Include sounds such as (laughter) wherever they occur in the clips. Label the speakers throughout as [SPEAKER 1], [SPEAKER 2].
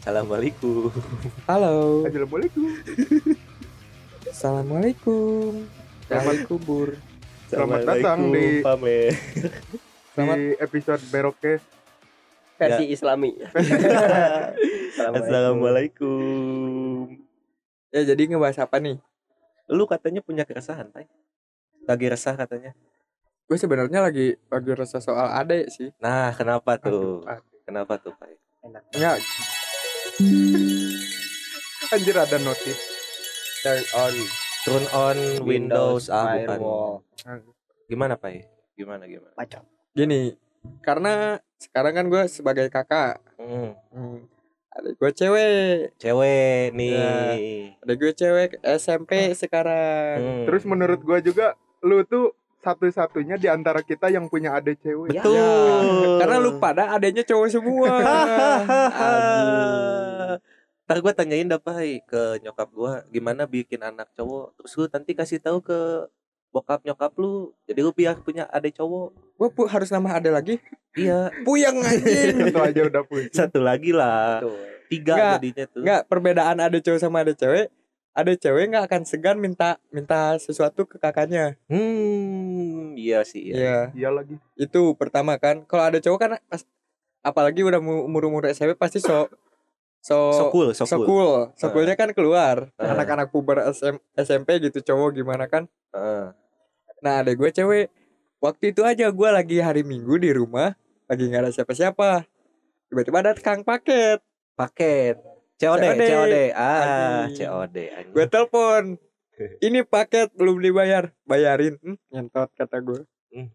[SPEAKER 1] Assalamualaikum.
[SPEAKER 2] Halo.
[SPEAKER 3] Assalamualaikum.
[SPEAKER 2] Assalamualaikum.
[SPEAKER 3] Selamat-
[SPEAKER 2] Wahai kubur.
[SPEAKER 3] Selamat datang di-
[SPEAKER 1] Assalamualaikum, Pamer.
[SPEAKER 2] Selamat-
[SPEAKER 3] Di episode Berokes
[SPEAKER 4] versi Islami.
[SPEAKER 1] (laughs) Assalamualaikum.
[SPEAKER 2] Ya jadi ngebahas apa nih?
[SPEAKER 1] Lu katanya punya keresahan, Tay. Lagi resah katanya.
[SPEAKER 2] Gue sebenarnya lagi lagi rasa soal ade sih.
[SPEAKER 1] Nah, kenapa tuh?
[SPEAKER 2] Aduh,
[SPEAKER 1] Kenapa tuh, Pak?
[SPEAKER 4] Enak.
[SPEAKER 2] Enggak,
[SPEAKER 3] anjir ada notif.
[SPEAKER 4] Turn on
[SPEAKER 1] Turn on Windows,
[SPEAKER 4] Windows
[SPEAKER 1] ah bukan.
[SPEAKER 4] Firewall.
[SPEAKER 1] Gimana, Pak? Gimana gimana?
[SPEAKER 4] Pacok.
[SPEAKER 2] gini. Karena sekarang kan gue sebagai kakak.
[SPEAKER 1] Hmm,
[SPEAKER 2] Hmm. Ada gue cewek,
[SPEAKER 1] cewek nih.
[SPEAKER 2] ada gue cewek SMP sekarang.
[SPEAKER 1] Hmm.
[SPEAKER 3] Terus menurut gua juga lu tuh satu-satunya di antara kita yang punya adik cewek.
[SPEAKER 1] betul.
[SPEAKER 2] Ya, karena lu pada adanya cowok (laughs) semua. Aduh.
[SPEAKER 1] Hahaha. (laughs) Ntar gue tanyain dah Pai ke nyokap gue gimana bikin anak cowok. Terus gue nanti kasih tahu ke bokap nyokap lu. Jadi lu biar punya adik cowok.
[SPEAKER 2] Gue pu- harus nama ade lagi.
[SPEAKER 1] Iya.
[SPEAKER 2] Puyeng (laughs) anjing.
[SPEAKER 3] Satu aja udah pusing.
[SPEAKER 1] (laughs) Satu lagi lah.
[SPEAKER 4] Betul.
[SPEAKER 1] Tiga
[SPEAKER 2] Nggak,
[SPEAKER 1] jadinya tuh.
[SPEAKER 2] Enggak, perbedaan ada cowok sama ada cewek. Ada cewek nggak akan segan minta minta sesuatu ke kakaknya.
[SPEAKER 1] Hmm, iya sih.
[SPEAKER 2] Iya.
[SPEAKER 1] Iya.
[SPEAKER 3] Iya lagi.
[SPEAKER 2] Itu pertama kan. Kalau ada cowok kan pas, apalagi udah mu- umur-umur SMP pasti sok sok
[SPEAKER 1] So cool, so
[SPEAKER 2] so
[SPEAKER 1] cool.
[SPEAKER 2] cool. So coolnya kan keluar.
[SPEAKER 1] Ah.
[SPEAKER 2] Anak-anak puber SM SMP gitu cowok gimana kan.
[SPEAKER 1] Heeh.
[SPEAKER 2] Nah, ada gue cewek. Waktu itu aja gue lagi hari Minggu di rumah, lagi nggak ada siapa-siapa. Tiba-tiba ada kang paket.
[SPEAKER 1] Paket. COD,
[SPEAKER 2] COD.
[SPEAKER 1] COD. Ah,
[SPEAKER 2] Anjing.
[SPEAKER 1] COD. anjing.
[SPEAKER 2] Gue
[SPEAKER 1] (laughs)
[SPEAKER 2] telepon. Ini paket belum dibayar. Bayarin. Hmm, nyentot kata gue.
[SPEAKER 1] Hmm.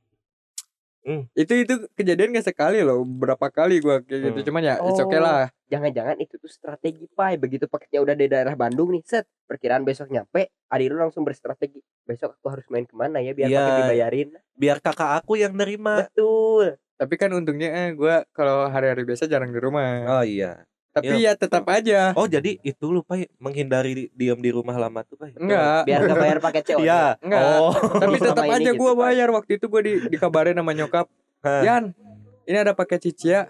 [SPEAKER 1] Hmm.
[SPEAKER 2] Itu itu kejadian gak sekali loh. Berapa kali gue kayak gitu.
[SPEAKER 1] Hmm.
[SPEAKER 2] Cuman ya it's
[SPEAKER 4] Oh.
[SPEAKER 2] okay lah.
[SPEAKER 4] Jangan-jangan itu tuh strategi Pai. Begitu paketnya udah di daerah Bandung nih, set. Perkiraan besok nyampe, adik lu langsung berstrategi. Besok aku harus main kemana ya biar
[SPEAKER 1] Iya.
[SPEAKER 4] paket dibayarin.
[SPEAKER 1] Biar kakak aku yang nerima.
[SPEAKER 4] Betul.
[SPEAKER 2] Tapi kan untungnya eh, gue kalau hari-hari biasa jarang di rumah.
[SPEAKER 1] Oh iya.
[SPEAKER 2] Tapi ya tetap aja.
[SPEAKER 1] Oh jadi itu lu Pai menghindari diam di rumah lama tuh Pai.
[SPEAKER 2] Enggak.
[SPEAKER 4] Biar gak bayar paket COD.
[SPEAKER 1] Iya.
[SPEAKER 2] Enggak.
[SPEAKER 1] Oh.
[SPEAKER 2] Tapi
[SPEAKER 4] Selama
[SPEAKER 2] tetap
[SPEAKER 4] ini
[SPEAKER 2] aja
[SPEAKER 4] gitu,
[SPEAKER 2] gue
[SPEAKER 4] Pak.
[SPEAKER 2] bayar. Waktu itu gue di, dikabarin sama
[SPEAKER 4] (laughs)
[SPEAKER 2] nyokap.
[SPEAKER 1] Hah.
[SPEAKER 2] Yan, ini ada paket cicia.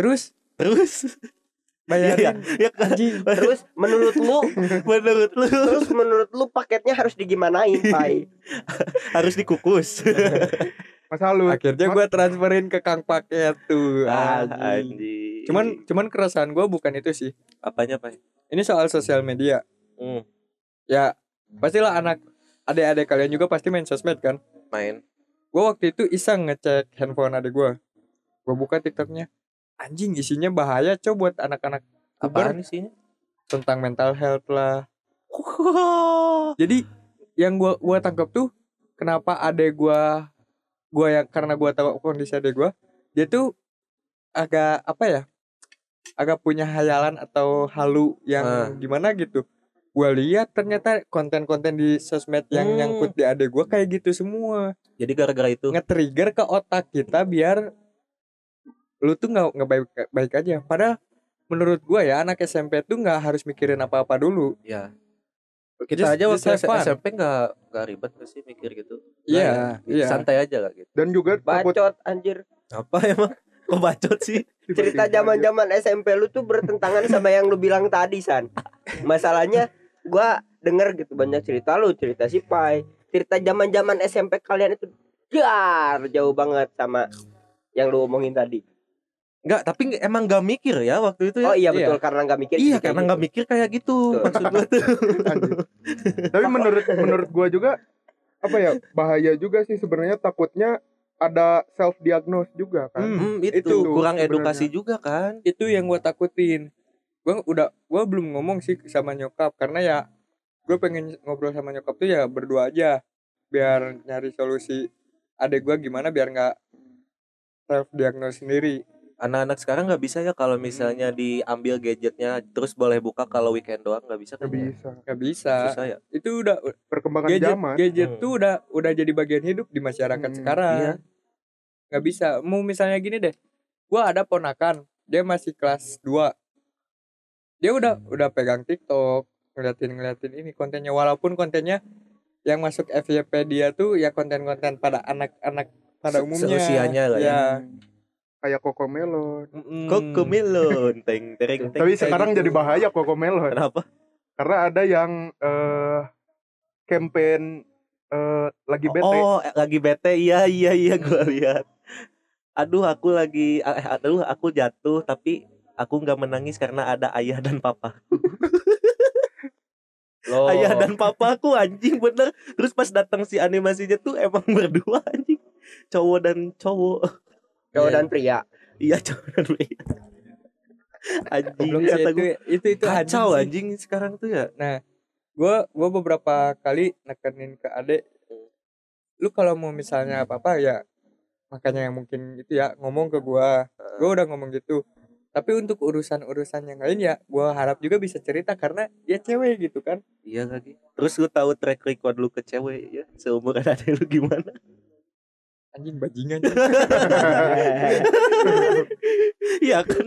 [SPEAKER 2] Terus
[SPEAKER 1] (laughs) Terus
[SPEAKER 4] Iya.
[SPEAKER 2] bayarin.
[SPEAKER 1] ya kan
[SPEAKER 2] Anjing.
[SPEAKER 4] Terus menurut lu,
[SPEAKER 1] menurut lu
[SPEAKER 4] terus menurut lu paketnya harus digimanain, Pai?
[SPEAKER 1] harus dikukus.
[SPEAKER 3] Masa lu
[SPEAKER 2] Akhirnya gue transferin ke kang paket tuh.
[SPEAKER 1] Ah,
[SPEAKER 2] anjing.
[SPEAKER 1] anjing.
[SPEAKER 2] Cuman cuman keresahan gue bukan itu sih.
[SPEAKER 1] apanya Pak?
[SPEAKER 2] Ini soal sosial media.
[SPEAKER 1] Hmm,
[SPEAKER 2] Ya pastilah anak adik-adik kalian juga pasti main sosmed kan.
[SPEAKER 1] main.
[SPEAKER 2] Gue waktu itu iseng ngecek handphone adik gue. Gue buka tiktoknya. Anjing isinya bahaya coba buat anak-anak puber
[SPEAKER 1] Apaan isinya?
[SPEAKER 2] tentang mental health lah. Jadi yang gue gua tangkap tuh kenapa adik gue gue yang karena gue tahu kondisi adik gue dia tuh agak apa ya agak punya hayalan atau halu yang
[SPEAKER 1] Ah.
[SPEAKER 2] gimana gitu gue lihat ternyata konten-konten di sosmed yang
[SPEAKER 1] Hmm.
[SPEAKER 2] nyangkut di adik gue kayak gitu semua
[SPEAKER 1] Jadi gara-gara
[SPEAKER 2] gitu.
[SPEAKER 1] itu.
[SPEAKER 2] nge-trigger ke otak kita biar lu tuh nggak nggak baik baik aja padahal menurut gue ya anak SMP tuh nggak harus mikirin apa-apa dulu
[SPEAKER 1] Ya. Kita
[SPEAKER 2] Just-
[SPEAKER 1] aja
[SPEAKER 2] just
[SPEAKER 1] waktu
[SPEAKER 2] have fun.
[SPEAKER 1] SMP nggak nggak ribet nggak sih mikir gitu.
[SPEAKER 2] iya
[SPEAKER 1] Nggak ya?
[SPEAKER 2] iya
[SPEAKER 1] Santai aja lah gitu.
[SPEAKER 3] dan juga takut
[SPEAKER 4] Bacot anjir.
[SPEAKER 1] Apa emang? Kok bacot sih?
[SPEAKER 3] tiba-tiba
[SPEAKER 4] cerita
[SPEAKER 3] aja.
[SPEAKER 4] zaman-zaman SMP lu tuh bertentangan sama yang lu bilang tadi San. Masalahnya gua denger gitu banyak cerita lu, cerita si Pai, cerita zaman-zaman SMP kalian itu jar jauh banget sama yang lu omongin tadi.
[SPEAKER 1] Enggak, tapi nggak- emang nggak mikir ya waktu itu ya.
[SPEAKER 4] Oh iya betul karena nggak mikir.
[SPEAKER 1] iya, karena nggak mikir kayak gitu.
[SPEAKER 4] Betul.
[SPEAKER 1] Maksud gua tuh.
[SPEAKER 3] Anjir. Tapi menurut menurut gua juga apa ya bahaya juga sih sebenarnya takutnya ada self diagnose juga kan.
[SPEAKER 2] Hmm.
[SPEAKER 1] Hmm, itu,
[SPEAKER 2] itu
[SPEAKER 1] kurang
[SPEAKER 3] sebenarnya.
[SPEAKER 1] edukasi juga kan.
[SPEAKER 2] itu yang gue takutin gue udah gue belum ngomong sih sama nyokap karena ya gue pengen ngobrol sama nyokap tuh ya berdua aja biar nyari solusi adek gue gimana biar nggak self diagnose sendiri
[SPEAKER 1] Anak-anak sekarang nggak bisa ya kalau misalnya diambil gadgetnya terus boleh buka kalau weekend doang nggak bisa
[SPEAKER 3] Nggak
[SPEAKER 1] kan? ya?
[SPEAKER 3] bisa.
[SPEAKER 2] nggak bisa
[SPEAKER 1] Susah ya.
[SPEAKER 2] itu udah
[SPEAKER 3] Perkembangan
[SPEAKER 2] gadget
[SPEAKER 3] zaman.
[SPEAKER 2] gadget
[SPEAKER 1] Hmm.
[SPEAKER 2] tuh udah udah jadi bagian hidup di masyarakat
[SPEAKER 3] Hmm,
[SPEAKER 2] sekarang
[SPEAKER 1] iya.
[SPEAKER 2] nggak bisa mau misalnya gini deh gue ada ponakan dia masih kelas 2 dia udah udah pegang TikTok ngeliatin ngeliatin ini kontennya walaupun kontennya yang masuk FYP dia tuh ya konten-konten pada anak-anak
[SPEAKER 1] Se-
[SPEAKER 2] pada umumnya
[SPEAKER 1] seusianya lah ya.
[SPEAKER 2] ya
[SPEAKER 3] kayak kokomelon.
[SPEAKER 1] Kokomelon teng tereng teng.
[SPEAKER 3] Hmm. Tapi
[SPEAKER 1] teng,
[SPEAKER 3] sekarang
[SPEAKER 1] gitu.
[SPEAKER 3] jadi bahaya kokomelon.
[SPEAKER 1] Kenapa?
[SPEAKER 3] Karena ada yang eh campaign eh lagi bete. Hmm.
[SPEAKER 1] Oh, eh, lagi bete. Iya, iya, iya gua lihat. Aduh, aku lagi eh, aduh, aku jatuh tapi aku nggak menangis karena ada ayah dan papa.
[SPEAKER 3] Oh.
[SPEAKER 2] Loh.
[SPEAKER 1] Ayah dan papaku anjing bener. Terus pas datang si animasinya tuh emang (laughs) berdua anjing. Cowok dan cowok.
[SPEAKER 4] cowok
[SPEAKER 2] Iya.
[SPEAKER 4] dan
[SPEAKER 1] (laughs)
[SPEAKER 4] pria
[SPEAKER 1] Iya, cowok dan pria. Anjing
[SPEAKER 2] Goblok sih
[SPEAKER 1] kata
[SPEAKER 2] Iya, itu,
[SPEAKER 1] gue.
[SPEAKER 2] itu itu
[SPEAKER 1] Kacau
[SPEAKER 2] anjing sih.
[SPEAKER 1] anjing sekarang tuh ya.
[SPEAKER 2] Gue gue Nah, beberapa kali nekenin ke adek lu kalau mau misalnya apa-apa ya makanya yang mungkin itu ya ngomong ke gua. Gua udah ngomong gitu. Tapi untuk urusan-urusan yang lain ya gua harap juga bisa cerita karena ya cewek gitu kan.
[SPEAKER 1] Iya lagi. Terus lu tahu track record lu ke cewek ya seumuran (laughs) adek lu gimana?
[SPEAKER 2] Anjing bajingan.
[SPEAKER 1] Ah, Iya kan.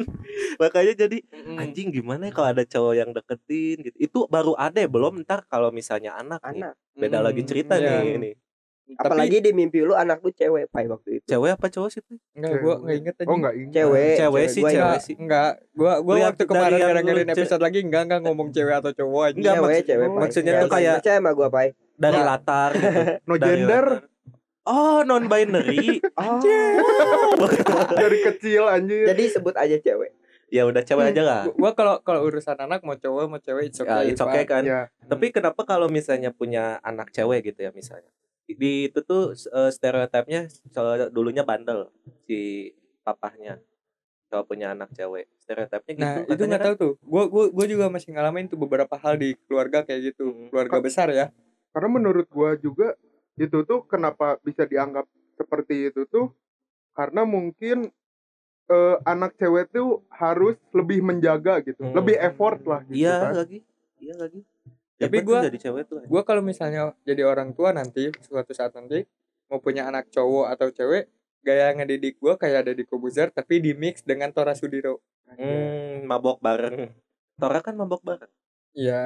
[SPEAKER 1] Makanya jadi
[SPEAKER 2] Mm-mm.
[SPEAKER 1] anjing gimana ya kalau ada cowok yang deketin gitu. Itu baru ada belum ntar kalau misalnya anak, nih.
[SPEAKER 4] (laughs) anak
[SPEAKER 1] (laughs) Beda
[SPEAKER 2] Mm,
[SPEAKER 1] lagi cerita
[SPEAKER 2] iya.
[SPEAKER 1] nih ini.
[SPEAKER 4] apalagi di mimpi lu anak lu cewek pai waktu itu
[SPEAKER 1] Cewek apa cowok sih? tuh?
[SPEAKER 2] Enggak gua enggak inget aja.
[SPEAKER 3] Oh enggak ingat.
[SPEAKER 4] cewek
[SPEAKER 1] Cewek sih,
[SPEAKER 4] gua
[SPEAKER 1] cewek.
[SPEAKER 4] ingat.
[SPEAKER 2] Enggak,
[SPEAKER 1] sih.
[SPEAKER 2] enggak. Gua gua
[SPEAKER 1] Lihat
[SPEAKER 2] waktu
[SPEAKER 1] dari
[SPEAKER 2] kemarin
[SPEAKER 1] yang
[SPEAKER 2] gara-gara
[SPEAKER 1] lu ce-
[SPEAKER 2] episode lagi enggak enggak ngomong cewek atau cowok aja.
[SPEAKER 1] Enggak,
[SPEAKER 4] cewek
[SPEAKER 1] maksud-
[SPEAKER 4] cewek pai
[SPEAKER 1] maksudnya
[SPEAKER 4] Enggak,
[SPEAKER 1] tuh kayak-
[SPEAKER 4] percaya sama gua pai
[SPEAKER 1] Dari
[SPEAKER 2] Enggak.
[SPEAKER 1] latar gitu.
[SPEAKER 2] (laughs)
[SPEAKER 3] No
[SPEAKER 1] Dari
[SPEAKER 3] gender
[SPEAKER 1] latar. Oh, non binary.
[SPEAKER 3] (laughs) dari kecil anjir.
[SPEAKER 4] jadi sebut aja cewek
[SPEAKER 1] ya udah cewek aja lah.
[SPEAKER 2] Gua- Gua kalau kalau urusan anak mau cowok mau cewek it's okay.
[SPEAKER 1] Ya, it's okay
[SPEAKER 2] Pak.
[SPEAKER 1] kan.
[SPEAKER 3] Ya,
[SPEAKER 2] Hmm.
[SPEAKER 1] Tapi kenapa kalau misalnya punya anak cewek gitu ya misalnya. Di itu tuh eh, stereotipnya soal dulunya bandel si papahnya. Kalau punya anak cewek. Stereotipnya gitu
[SPEAKER 2] Nah, itu
[SPEAKER 1] katanya
[SPEAKER 2] nggak tahu tuh. Gua gua gua juga masih ngalamin tuh beberapa hal di keluarga kayak gitu. Keluarga
[SPEAKER 3] Kok-
[SPEAKER 2] besar ya.
[SPEAKER 3] karena menurut gua juga itu tuh kenapa bisa dianggap seperti itu tuh karena mungkin eh, anak cewek tuh harus lebih menjaga gitu,
[SPEAKER 1] Hmm.
[SPEAKER 3] lebih effort lah gitu
[SPEAKER 1] Iya
[SPEAKER 3] kan.
[SPEAKER 1] lagi, iya lagi.
[SPEAKER 2] Tapi
[SPEAKER 1] Hebat tuh
[SPEAKER 2] gua-
[SPEAKER 1] jadi cewek tuh.
[SPEAKER 2] Gua kalau misalnya jadi orang tua nanti suatu saat nanti mau punya anak cowok atau cewek gaya ngedidik gua kayak ada di Kobuzer tapi di mix dengan Tora Sudiro.
[SPEAKER 1] Hmm, mabok bareng. Tora kan mabok bareng.
[SPEAKER 2] Iya,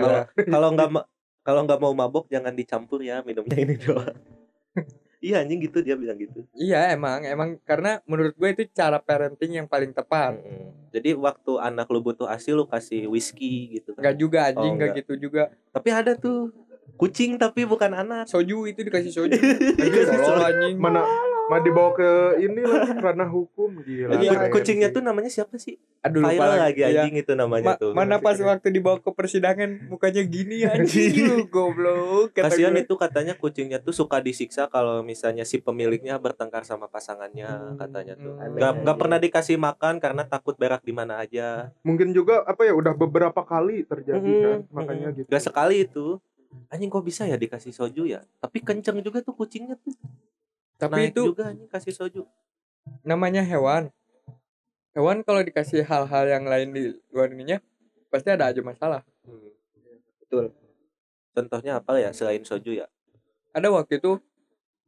[SPEAKER 2] iya. (laughs)
[SPEAKER 1] Kalau kalau nggak ma- kalau nggak mau mabok jangan dicampur ya minumnya ini doang. (laughs) iya anjing gitu dia bilang gitu.
[SPEAKER 2] Iya emang emang karena menurut gue itu cara parenting yang paling tepat.
[SPEAKER 1] Mm-mm. Hmm, Jadi waktu anak lu butuh asi lu kasih whisky gitu kan.
[SPEAKER 2] Enggak juga anjing
[SPEAKER 1] Oh,
[SPEAKER 2] enggak
[SPEAKER 1] enggak.
[SPEAKER 2] gitu juga.
[SPEAKER 1] Tapi ada tuh kucing tapi bukan anak.
[SPEAKER 2] Soju itu dikasih soju.
[SPEAKER 1] Dikasih
[SPEAKER 2] anjing tolol
[SPEAKER 1] soju.
[SPEAKER 2] anjing.
[SPEAKER 3] Mana mana dibawa ke ini lah ranah hukum gila.
[SPEAKER 2] Iya.
[SPEAKER 1] Ku- Kucingnya tuh namanya siapa sih?
[SPEAKER 2] Aduh lupa
[SPEAKER 1] Viral lagi
[SPEAKER 2] Iya.
[SPEAKER 1] anjing itu namanya
[SPEAKER 2] Ma-
[SPEAKER 1] tuh.
[SPEAKER 2] mana pas waktu dibawa ke persidangan mukanya
[SPEAKER 1] (laughs)
[SPEAKER 2] gini anjing lu (laughs) goblok
[SPEAKER 1] Iya.
[SPEAKER 2] kata
[SPEAKER 1] Kasihan
[SPEAKER 2] gue.
[SPEAKER 1] itu katanya kucingnya tuh suka disiksa kalau misalnya si pemiliknya bertengkar sama pasangannya katanya tuh.
[SPEAKER 2] Hmm.
[SPEAKER 1] Gak,
[SPEAKER 4] Aneh
[SPEAKER 1] gak
[SPEAKER 4] aja.
[SPEAKER 1] pernah dikasih makan karena takut berak di mana aja.
[SPEAKER 3] Mungkin juga apa ya udah beberapa kali terjadi kan
[SPEAKER 1] Mm-mm,
[SPEAKER 3] makanya
[SPEAKER 1] mm-mm.
[SPEAKER 3] gitu.
[SPEAKER 1] Gak sekali itu. Anjing kok bisa ya dikasih soju ya? Tapi kenceng juga tuh kucingnya tuh. Naik
[SPEAKER 2] tapi itu
[SPEAKER 1] juga anjing kasih soju.
[SPEAKER 2] namanya hewan hewan kalau dikasih hal-hal yang lain di luar ininya pasti ada aja masalah
[SPEAKER 4] betul
[SPEAKER 1] Contohnya apa ya selain soju ya?
[SPEAKER 2] ada waktu itu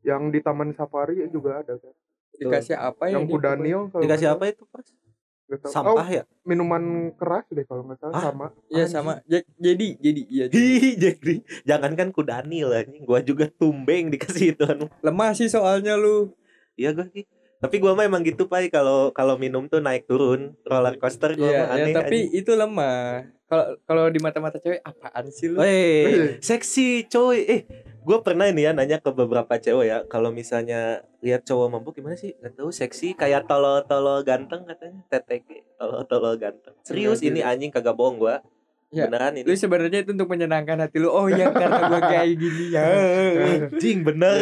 [SPEAKER 3] Yang di taman
[SPEAKER 1] Iya.
[SPEAKER 3] safari juga ada kan.
[SPEAKER 2] dikasih apa ya
[SPEAKER 3] Yang
[SPEAKER 2] dia?
[SPEAKER 3] kuda Daniel kalau
[SPEAKER 1] Dikasih
[SPEAKER 3] nggak
[SPEAKER 1] apa itu pas?
[SPEAKER 3] salah.
[SPEAKER 1] Sampah Ah,
[SPEAKER 3] Oh,
[SPEAKER 1] ya?
[SPEAKER 3] minuman keras deh kalau nggak salah
[SPEAKER 1] Hah?
[SPEAKER 3] sama.
[SPEAKER 2] Iya sama Ja- jadi jadi iya jadi.
[SPEAKER 1] Hi, jadi jangankan kudani lah anjing. Gua juga tumbeng dikasih itu anu.
[SPEAKER 2] lemah sih soalnya lu
[SPEAKER 1] Iya gue sih. Tapi gua mah emang gitu pai kalau kalau minum tuh naik turun roller coaster gua
[SPEAKER 2] Iya
[SPEAKER 1] mah
[SPEAKER 2] ya,
[SPEAKER 1] aneh.
[SPEAKER 2] tapi itu lemah kalau kalau di mata-mata cewek apaan
[SPEAKER 1] anjing.
[SPEAKER 2] sih lu
[SPEAKER 1] Wey,
[SPEAKER 3] Iya.
[SPEAKER 1] seksi coy. Eh, gua pernah ini ya nanya ke beberapa cewek ya kalau misalnya lihat cowok mabuk gimana sih? Gak tahu seksi kayak tolol-tolol ganteng katanya. TTG tolol-tolol ganteng. Serius
[SPEAKER 3] Iya,
[SPEAKER 1] ini
[SPEAKER 3] iya.
[SPEAKER 1] anjing kagak bohong gua.
[SPEAKER 2] Ya,
[SPEAKER 1] Beneran
[SPEAKER 2] lu
[SPEAKER 1] ini.
[SPEAKER 2] sebenarnya itu untuk menyenangkan hati lu oh ya karena gua kayak
[SPEAKER 1] (laughs)
[SPEAKER 2] gini ya
[SPEAKER 1] Anjing
[SPEAKER 2] Iya.
[SPEAKER 1] bener.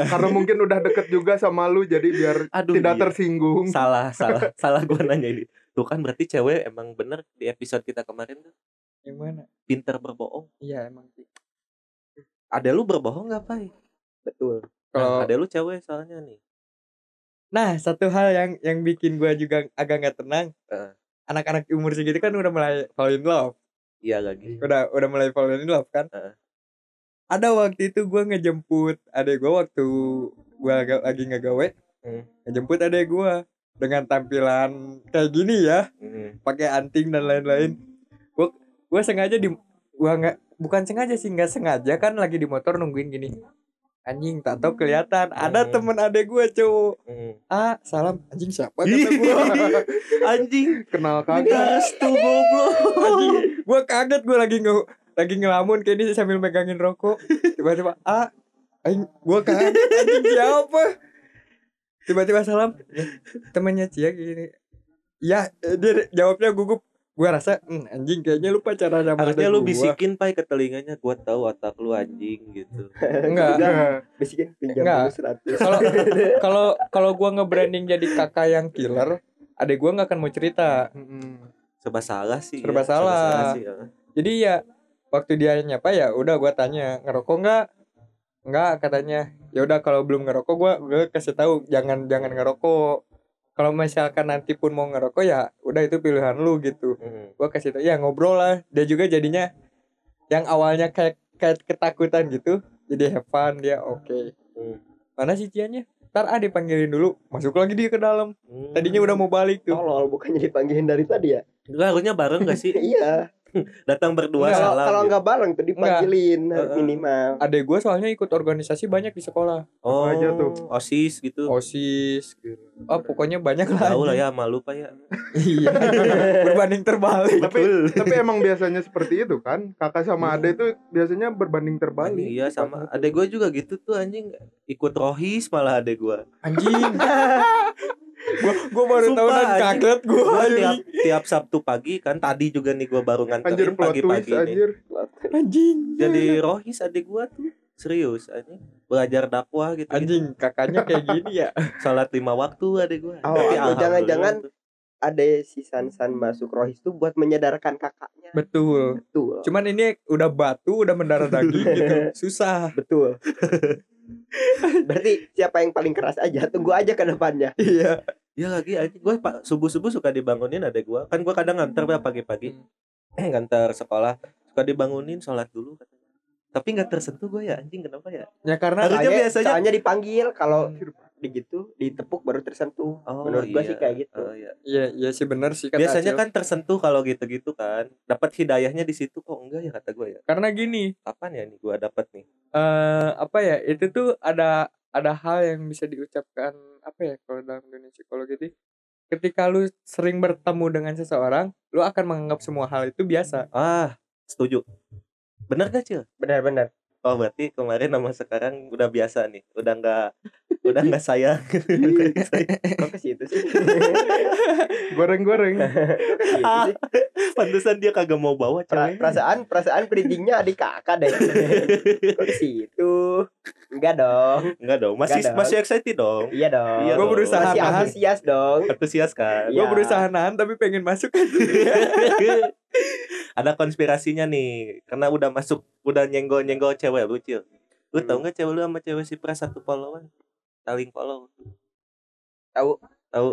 [SPEAKER 3] Karena mungkin udah deket juga sama lu jadi biar
[SPEAKER 1] Aduh.
[SPEAKER 3] tidak
[SPEAKER 1] iya.
[SPEAKER 3] tersinggung.
[SPEAKER 1] Salah, salah, (laughs) salah gua nanya ini. Tuh kan berarti cewek emang bener di episode kita kemarin tuh
[SPEAKER 2] yang mana
[SPEAKER 1] pinter berbohong.
[SPEAKER 2] iya emang sih
[SPEAKER 1] Ada lu berbohong gak, Pai?
[SPEAKER 4] betul
[SPEAKER 1] Nah,
[SPEAKER 2] kalau
[SPEAKER 1] ada lu cewek soalnya nih.
[SPEAKER 2] nah satu hal yang yang bikin gua juga agak nggak tenang
[SPEAKER 1] Heeh.
[SPEAKER 2] anak-anak umur segitu kan udah mulai fall in love
[SPEAKER 1] Iya lagi.
[SPEAKER 2] udah udah mulai fall in love kan
[SPEAKER 1] Heeh.
[SPEAKER 2] ada waktu itu gua ngejemput adek gua waktu gua aga- lagi ngegawe
[SPEAKER 1] Hmm.
[SPEAKER 2] ngejemput adek gua dengan tampilan kayak gini ya pakai anting dan lain-lain gua gua sengaja di gua nggak bukan sengaja sih nggak sengaja kan lagi di motor nungguin gini anjing tak tahu kelihatan ada temen adek gue cowok
[SPEAKER 1] Hmm.
[SPEAKER 2] ah salam anjing siapa kata gue
[SPEAKER 1] Anjing
[SPEAKER 3] kenal kan. kagak
[SPEAKER 1] gas tuh goblok.
[SPEAKER 2] gue kaget gue lagi nge lagi ngelamun kayak ini sambil megangin rokok tiba-tiba ah aing gue kaget anjing siapa tiba-tiba salam temannya Cia gini ya eh, dia jawabnya gugup gue rasa "Hmm, anjing kayaknya lu pacaran sama
[SPEAKER 1] Harusnya
[SPEAKER 2] adek
[SPEAKER 1] lu
[SPEAKER 2] gua."
[SPEAKER 1] bisikin pai ke telinganya gua tahu otak lu anjing gitu.
[SPEAKER 2] enggak
[SPEAKER 3] Ya,
[SPEAKER 4] Bisikin pinjam
[SPEAKER 2] Enggak.
[SPEAKER 4] dulu 100.
[SPEAKER 2] kalau kalau kalau gue nge-branding jadi kakak yang killer adek gue nggak akan mau cerita
[SPEAKER 3] mm-mm.
[SPEAKER 1] Serba salah sih.
[SPEAKER 2] Serba salah.
[SPEAKER 1] sih, ya.
[SPEAKER 2] jadi ya waktu dia nyapa ya udah gua tanya ngerokok nggak nggak katanya ya udah kalau belum ngerokok gua gua kasih tahu jangan jangan ngerokok kalau misalkan nanti pun mau ngerokok ya udah itu pilihan lu gitu
[SPEAKER 1] Hmm.
[SPEAKER 2] gua kasih tahu ya ngobrol lah dia juga jadinya yang awalnya kayak kayak ketakutan gitu jadi have fun dia oke
[SPEAKER 1] Hmm.
[SPEAKER 2] mana sih ciannya ntar ah dipanggilin dulu masuk lagi dia ke dalam
[SPEAKER 1] Hmm.
[SPEAKER 2] tadinya udah mau balik tuh
[SPEAKER 4] Tolol bukannya dipanggilin dari tadi ya?
[SPEAKER 1] Lu harusnya bareng gak sih?
[SPEAKER 4] Iya.
[SPEAKER 1] Datang berdua
[SPEAKER 2] Enggak,
[SPEAKER 4] Kalau
[SPEAKER 1] salam.
[SPEAKER 4] kalau
[SPEAKER 1] gitu.
[SPEAKER 4] nggak bareng tuh dipanggilin
[SPEAKER 1] Enggak.
[SPEAKER 4] minimal.
[SPEAKER 2] adek gua soalnya ikut organisasi banyak di sekolah
[SPEAKER 1] oh,
[SPEAKER 3] aja tuh.
[SPEAKER 1] OSIS gitu.
[SPEAKER 2] osis oh pokoknya banyak lah
[SPEAKER 1] Tahu lah ya sama lu Pak ya.
[SPEAKER 2] (laughs) iya berbanding terbalik
[SPEAKER 3] Tapi- tapi emang biasanya seperti itu kan kakak sama ade itu biasanya berbanding
[SPEAKER 1] Anjing,
[SPEAKER 3] terbalik
[SPEAKER 1] iya sama adek gue juga gitu tuh anjing ikut rohis malah adek
[SPEAKER 4] (laughs)
[SPEAKER 1] gue
[SPEAKER 2] anjing (laughs) gua gua baru
[SPEAKER 1] Sumpah,
[SPEAKER 2] tahu dan
[SPEAKER 1] anjing.
[SPEAKER 2] kaget gua
[SPEAKER 1] gue
[SPEAKER 2] anjing.
[SPEAKER 1] tiap tiap sabtu pagi kan tadi juga nih gue baru
[SPEAKER 3] anjir
[SPEAKER 1] nganterin
[SPEAKER 3] plot twist
[SPEAKER 1] pagi-pagi nih
[SPEAKER 3] anjir
[SPEAKER 2] anjing
[SPEAKER 1] jadi rohis adek gue tuh serius anjing belajar dakwah gitu, -gitu.
[SPEAKER 2] anjing kakaknya kayak gini
[SPEAKER 1] (laughs)
[SPEAKER 2] ya
[SPEAKER 1] salat lima waktu adek gue
[SPEAKER 4] Oh, atau jangan-jangan Ada si Sansan masuk Rohis tuh buat menyadarkan kakaknya.
[SPEAKER 2] betul
[SPEAKER 4] Betul.
[SPEAKER 2] cuman ini udah batu udah mendarah daging
[SPEAKER 1] (laughs)
[SPEAKER 2] gitu susah
[SPEAKER 4] Betul. Berarti siapa yang paling keras aja tunggu aja ke depannya.
[SPEAKER 2] iya
[SPEAKER 1] ya lagi anjing gue pak subuh subuh suka dibangunin adek gue kan gue kadang nganter ya pagi-pagi
[SPEAKER 4] Hmm.
[SPEAKER 1] Eh, nganter sekolah suka dibangunin sholat dulu katanya tapi nggak tersentuh gue ya anjing kenapa ya
[SPEAKER 2] ya karena
[SPEAKER 1] Harus- Harusnya
[SPEAKER 4] Soalnya,
[SPEAKER 1] biasanya-
[SPEAKER 4] soalnya dipanggil kalau di gitu ditepuk baru tersentuh.
[SPEAKER 1] oh,
[SPEAKER 4] Menurut gua sih kayak gitu.
[SPEAKER 1] Oh, iya.
[SPEAKER 2] iya iya sih benar sih kata
[SPEAKER 1] biasanya
[SPEAKER 2] Acil.
[SPEAKER 1] kan tersentuh kalau gitu-gitu kan dapat hidayahnya di situ kok enggak ya kata gue ya
[SPEAKER 2] karena gini
[SPEAKER 1] kapan ya nih gue dapat nih
[SPEAKER 2] eh apa ya itu tuh ada ada hal yang bisa diucapkan apa ya kalau dalam dunia psikologi itu ketika lu sering bertemu dengan seseorang lu akan menganggap semua hal itu biasa
[SPEAKER 1] ah setuju bener gak cil
[SPEAKER 4] Benar-benar.
[SPEAKER 1] oh berarti kemarin sama sekarang udah biasa nih udah nggak udah nggak sayang
[SPEAKER 4] Kok ke situ sih?
[SPEAKER 3] goreng-goreng
[SPEAKER 4] Kok ke situ
[SPEAKER 1] Ah,
[SPEAKER 4] sih?
[SPEAKER 1] pantesan dia kagak mau bawa
[SPEAKER 4] Pra-
[SPEAKER 1] ceweknya
[SPEAKER 4] perasaan perasaan printingnya adik
[SPEAKER 1] (laughs)
[SPEAKER 4] kakak deh. Kok ke situ? Enggak dong.
[SPEAKER 1] enggak dong masih
[SPEAKER 4] Enggak dong.
[SPEAKER 1] masih excited dong
[SPEAKER 4] Iya dong.
[SPEAKER 1] Iya
[SPEAKER 2] Gua
[SPEAKER 1] dong.
[SPEAKER 2] berusaha
[SPEAKER 4] Masih
[SPEAKER 2] nahan.
[SPEAKER 4] antusias dong.
[SPEAKER 1] antusias kan
[SPEAKER 2] gue
[SPEAKER 4] Iya.
[SPEAKER 2] berusaha nahan tapi pengen masuk kan?
[SPEAKER 1] ada konspirasinya nih karena udah masuk udah nyenggol nyenggol cewek lu cil lu tau nggak cewek lu sama cewek si pras satu followan saling follow
[SPEAKER 4] Tahu.
[SPEAKER 1] tahu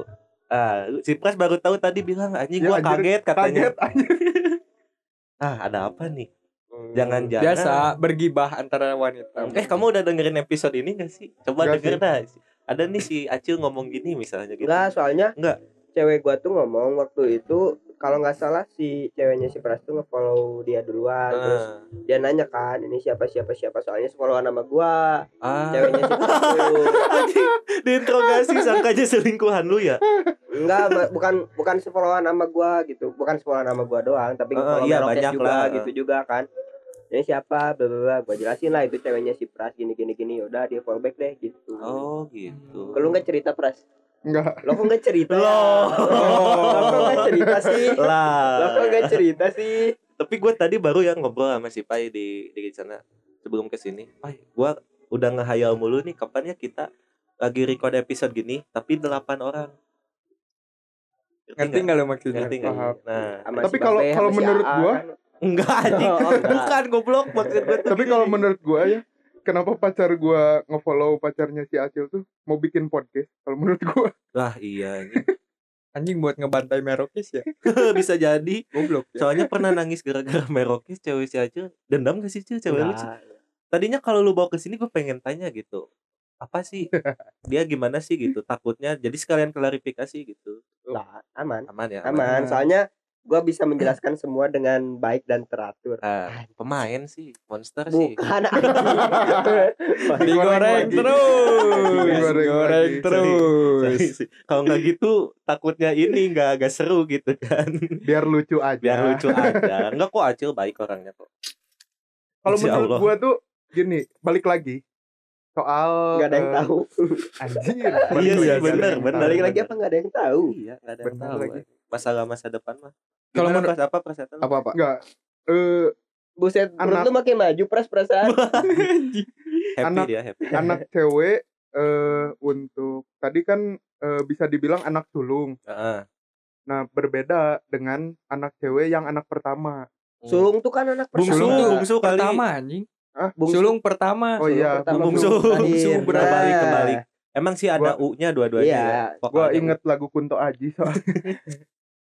[SPEAKER 1] ah lu- si pras baru tahu tadi bilang anjing
[SPEAKER 3] Ya,
[SPEAKER 1] gua
[SPEAKER 3] anjir,
[SPEAKER 1] kaget (laughs) katanya
[SPEAKER 3] kaget anjir
[SPEAKER 1] ah ada apa nih jangan-jangan
[SPEAKER 2] biasa bergibah antara wanita
[SPEAKER 1] eh kamu udah dengerin episode ini gak sih coba
[SPEAKER 3] Nggak
[SPEAKER 1] denger dah ada nih si Acil ngomong gini misalnya gitu
[SPEAKER 4] Enggak, soalnya
[SPEAKER 1] Enggak.
[SPEAKER 4] Cewek gua tuh ngomong waktu itu kalau nggak salah si ceweknya si Pras tuh ngefollow dia duluan terus
[SPEAKER 1] Ah,
[SPEAKER 4] dia nanya kan ini siapa siapa siapa soalnya sefollowan sama gua
[SPEAKER 1] ah.
[SPEAKER 4] ceweknya si Pras tuh
[SPEAKER 1] (laughs) Anjing, diinterogasi sangkanya selingkuhan lu ya
[SPEAKER 4] enggak ma- bukan bukan sefollowan sama gua gitu bukan sefollowan sama gua doang tapi
[SPEAKER 1] Heeh,
[SPEAKER 4] follow
[SPEAKER 1] iya,
[SPEAKER 4] Merokes
[SPEAKER 1] banyak
[SPEAKER 4] juga
[SPEAKER 1] lah.
[SPEAKER 4] gitu juga kan ini siapa bla bla bla gua jelasin lah itu ceweknya si Pras gini gini gini udah dia follow back deh gitu
[SPEAKER 1] oh gitu
[SPEAKER 4] Kok lu nggak cerita Pras
[SPEAKER 3] enggak
[SPEAKER 4] lo kok nggak cerita ya?
[SPEAKER 1] Loh.
[SPEAKER 4] lo kok nggak cerita sih lo
[SPEAKER 1] lah
[SPEAKER 4] kok nggak cerita sih
[SPEAKER 1] tapi gue tadi baru ya ngobrol sama si Pai di di sana sebelum kesini Pai gue udah ngehayal mulu nih kapan ya kita lagi record episode gini tapi delapan orang Ngerti
[SPEAKER 2] ngerti
[SPEAKER 1] nggak?
[SPEAKER 2] nggak lo maksudnya
[SPEAKER 1] ngerti nggak
[SPEAKER 3] Paham.
[SPEAKER 1] nah
[SPEAKER 4] Sama
[SPEAKER 3] Tapi
[SPEAKER 4] si
[SPEAKER 3] kalau-
[SPEAKER 4] Babe,
[SPEAKER 3] kalau
[SPEAKER 4] sama si
[SPEAKER 3] menurut
[SPEAKER 4] Aa
[SPEAKER 3] gua-
[SPEAKER 4] kan.
[SPEAKER 1] enggak anjing
[SPEAKER 4] Oh, enggak.
[SPEAKER 1] bukan goblok maksud gue
[SPEAKER 3] tapi kalau menurut gua ya kenapa pacar gua ngefollow pacarnya si Acil tuh mau bikin podcast kalau menurut gua
[SPEAKER 1] lah iya anjing. (laughs)
[SPEAKER 2] anjing buat ngebantai merokis ya
[SPEAKER 1] bisa jadi
[SPEAKER 2] (laughs) goblok ya
[SPEAKER 1] soalnya pernah nangis gara-gara merokis cewek si Acil dendam gak sih Cil cewek lu Cil?
[SPEAKER 4] Enggak.
[SPEAKER 1] tadinya kalau lu bawa ke sini gue pengen tanya gitu apa sih dia gimana sih gitu takutnya jadi sekalian klarifikasi gitu
[SPEAKER 4] Enggak, aman
[SPEAKER 1] aman ya
[SPEAKER 2] Aman.
[SPEAKER 4] aman soalnya gua bisa menjelaskan semua dengan baik dan teratur
[SPEAKER 1] Ah, pemain sih monster sih
[SPEAKER 4] bukan (laughs)
[SPEAKER 2] digoreng
[SPEAKER 3] lagi.
[SPEAKER 2] terus
[SPEAKER 3] Digoreng
[SPEAKER 2] digoreng
[SPEAKER 3] lagi.
[SPEAKER 2] terus
[SPEAKER 1] Sorry sih. (laughs) kalau nggak gitu takutnya ini nggak nggak seru gitu
[SPEAKER 3] (laughs)
[SPEAKER 1] kan
[SPEAKER 3] biar lucu aja
[SPEAKER 1] biar lucu aja nggak kok acil baik orangnya kok
[SPEAKER 3] kalau
[SPEAKER 1] Insya
[SPEAKER 3] menurut
[SPEAKER 1] Allah.
[SPEAKER 3] gua tuh gini balik lagi soal
[SPEAKER 4] nggak ada yang
[SPEAKER 3] eh,
[SPEAKER 4] tahu (laughs)
[SPEAKER 3] anjir
[SPEAKER 1] Iya sih,
[SPEAKER 3] balik
[SPEAKER 1] bener,
[SPEAKER 3] lagi, ada yang
[SPEAKER 1] bener.
[SPEAKER 3] tahu.
[SPEAKER 4] balik lagi apa nggak ada yang tahu
[SPEAKER 1] iya nggak ada yang
[SPEAKER 3] Benar
[SPEAKER 1] tahu
[SPEAKER 3] lagi.
[SPEAKER 1] masalah masa depan mah
[SPEAKER 2] Kalau
[SPEAKER 1] kalau
[SPEAKER 2] menurut-
[SPEAKER 1] menurut apa persetan
[SPEAKER 2] apa apa
[SPEAKER 3] Enggak. Eh,
[SPEAKER 4] buset menurut
[SPEAKER 3] Anak-
[SPEAKER 4] lu makin maju pres perasaan
[SPEAKER 1] (laughs)
[SPEAKER 4] Hmm.
[SPEAKER 1] happy
[SPEAKER 3] anak-
[SPEAKER 1] dia happy (laughs)
[SPEAKER 3] anak cewek eh untuk tadi kan eh, bisa dibilang anak sulung.
[SPEAKER 1] Heeh.
[SPEAKER 3] Nah, berbeda dengan anak cewek yang anak pertama.
[SPEAKER 4] sulung tuh kan anak
[SPEAKER 1] Bungsu,
[SPEAKER 4] pertama
[SPEAKER 1] bungsu kali.
[SPEAKER 2] pertama anjing
[SPEAKER 3] Hah?
[SPEAKER 4] Bungsu.
[SPEAKER 2] sulung pertama
[SPEAKER 3] Oh iya,
[SPEAKER 4] pertama,
[SPEAKER 1] bungsu. Bungsu,
[SPEAKER 4] terakhir.
[SPEAKER 1] berbalik,
[SPEAKER 4] Nah,
[SPEAKER 1] kebalik. emang sih ada u-nya dua-duanya
[SPEAKER 4] Iya.
[SPEAKER 1] ya
[SPEAKER 3] Gua
[SPEAKER 1] Vokalnya U.
[SPEAKER 3] inget lagu Kunto Aji soal (laughs)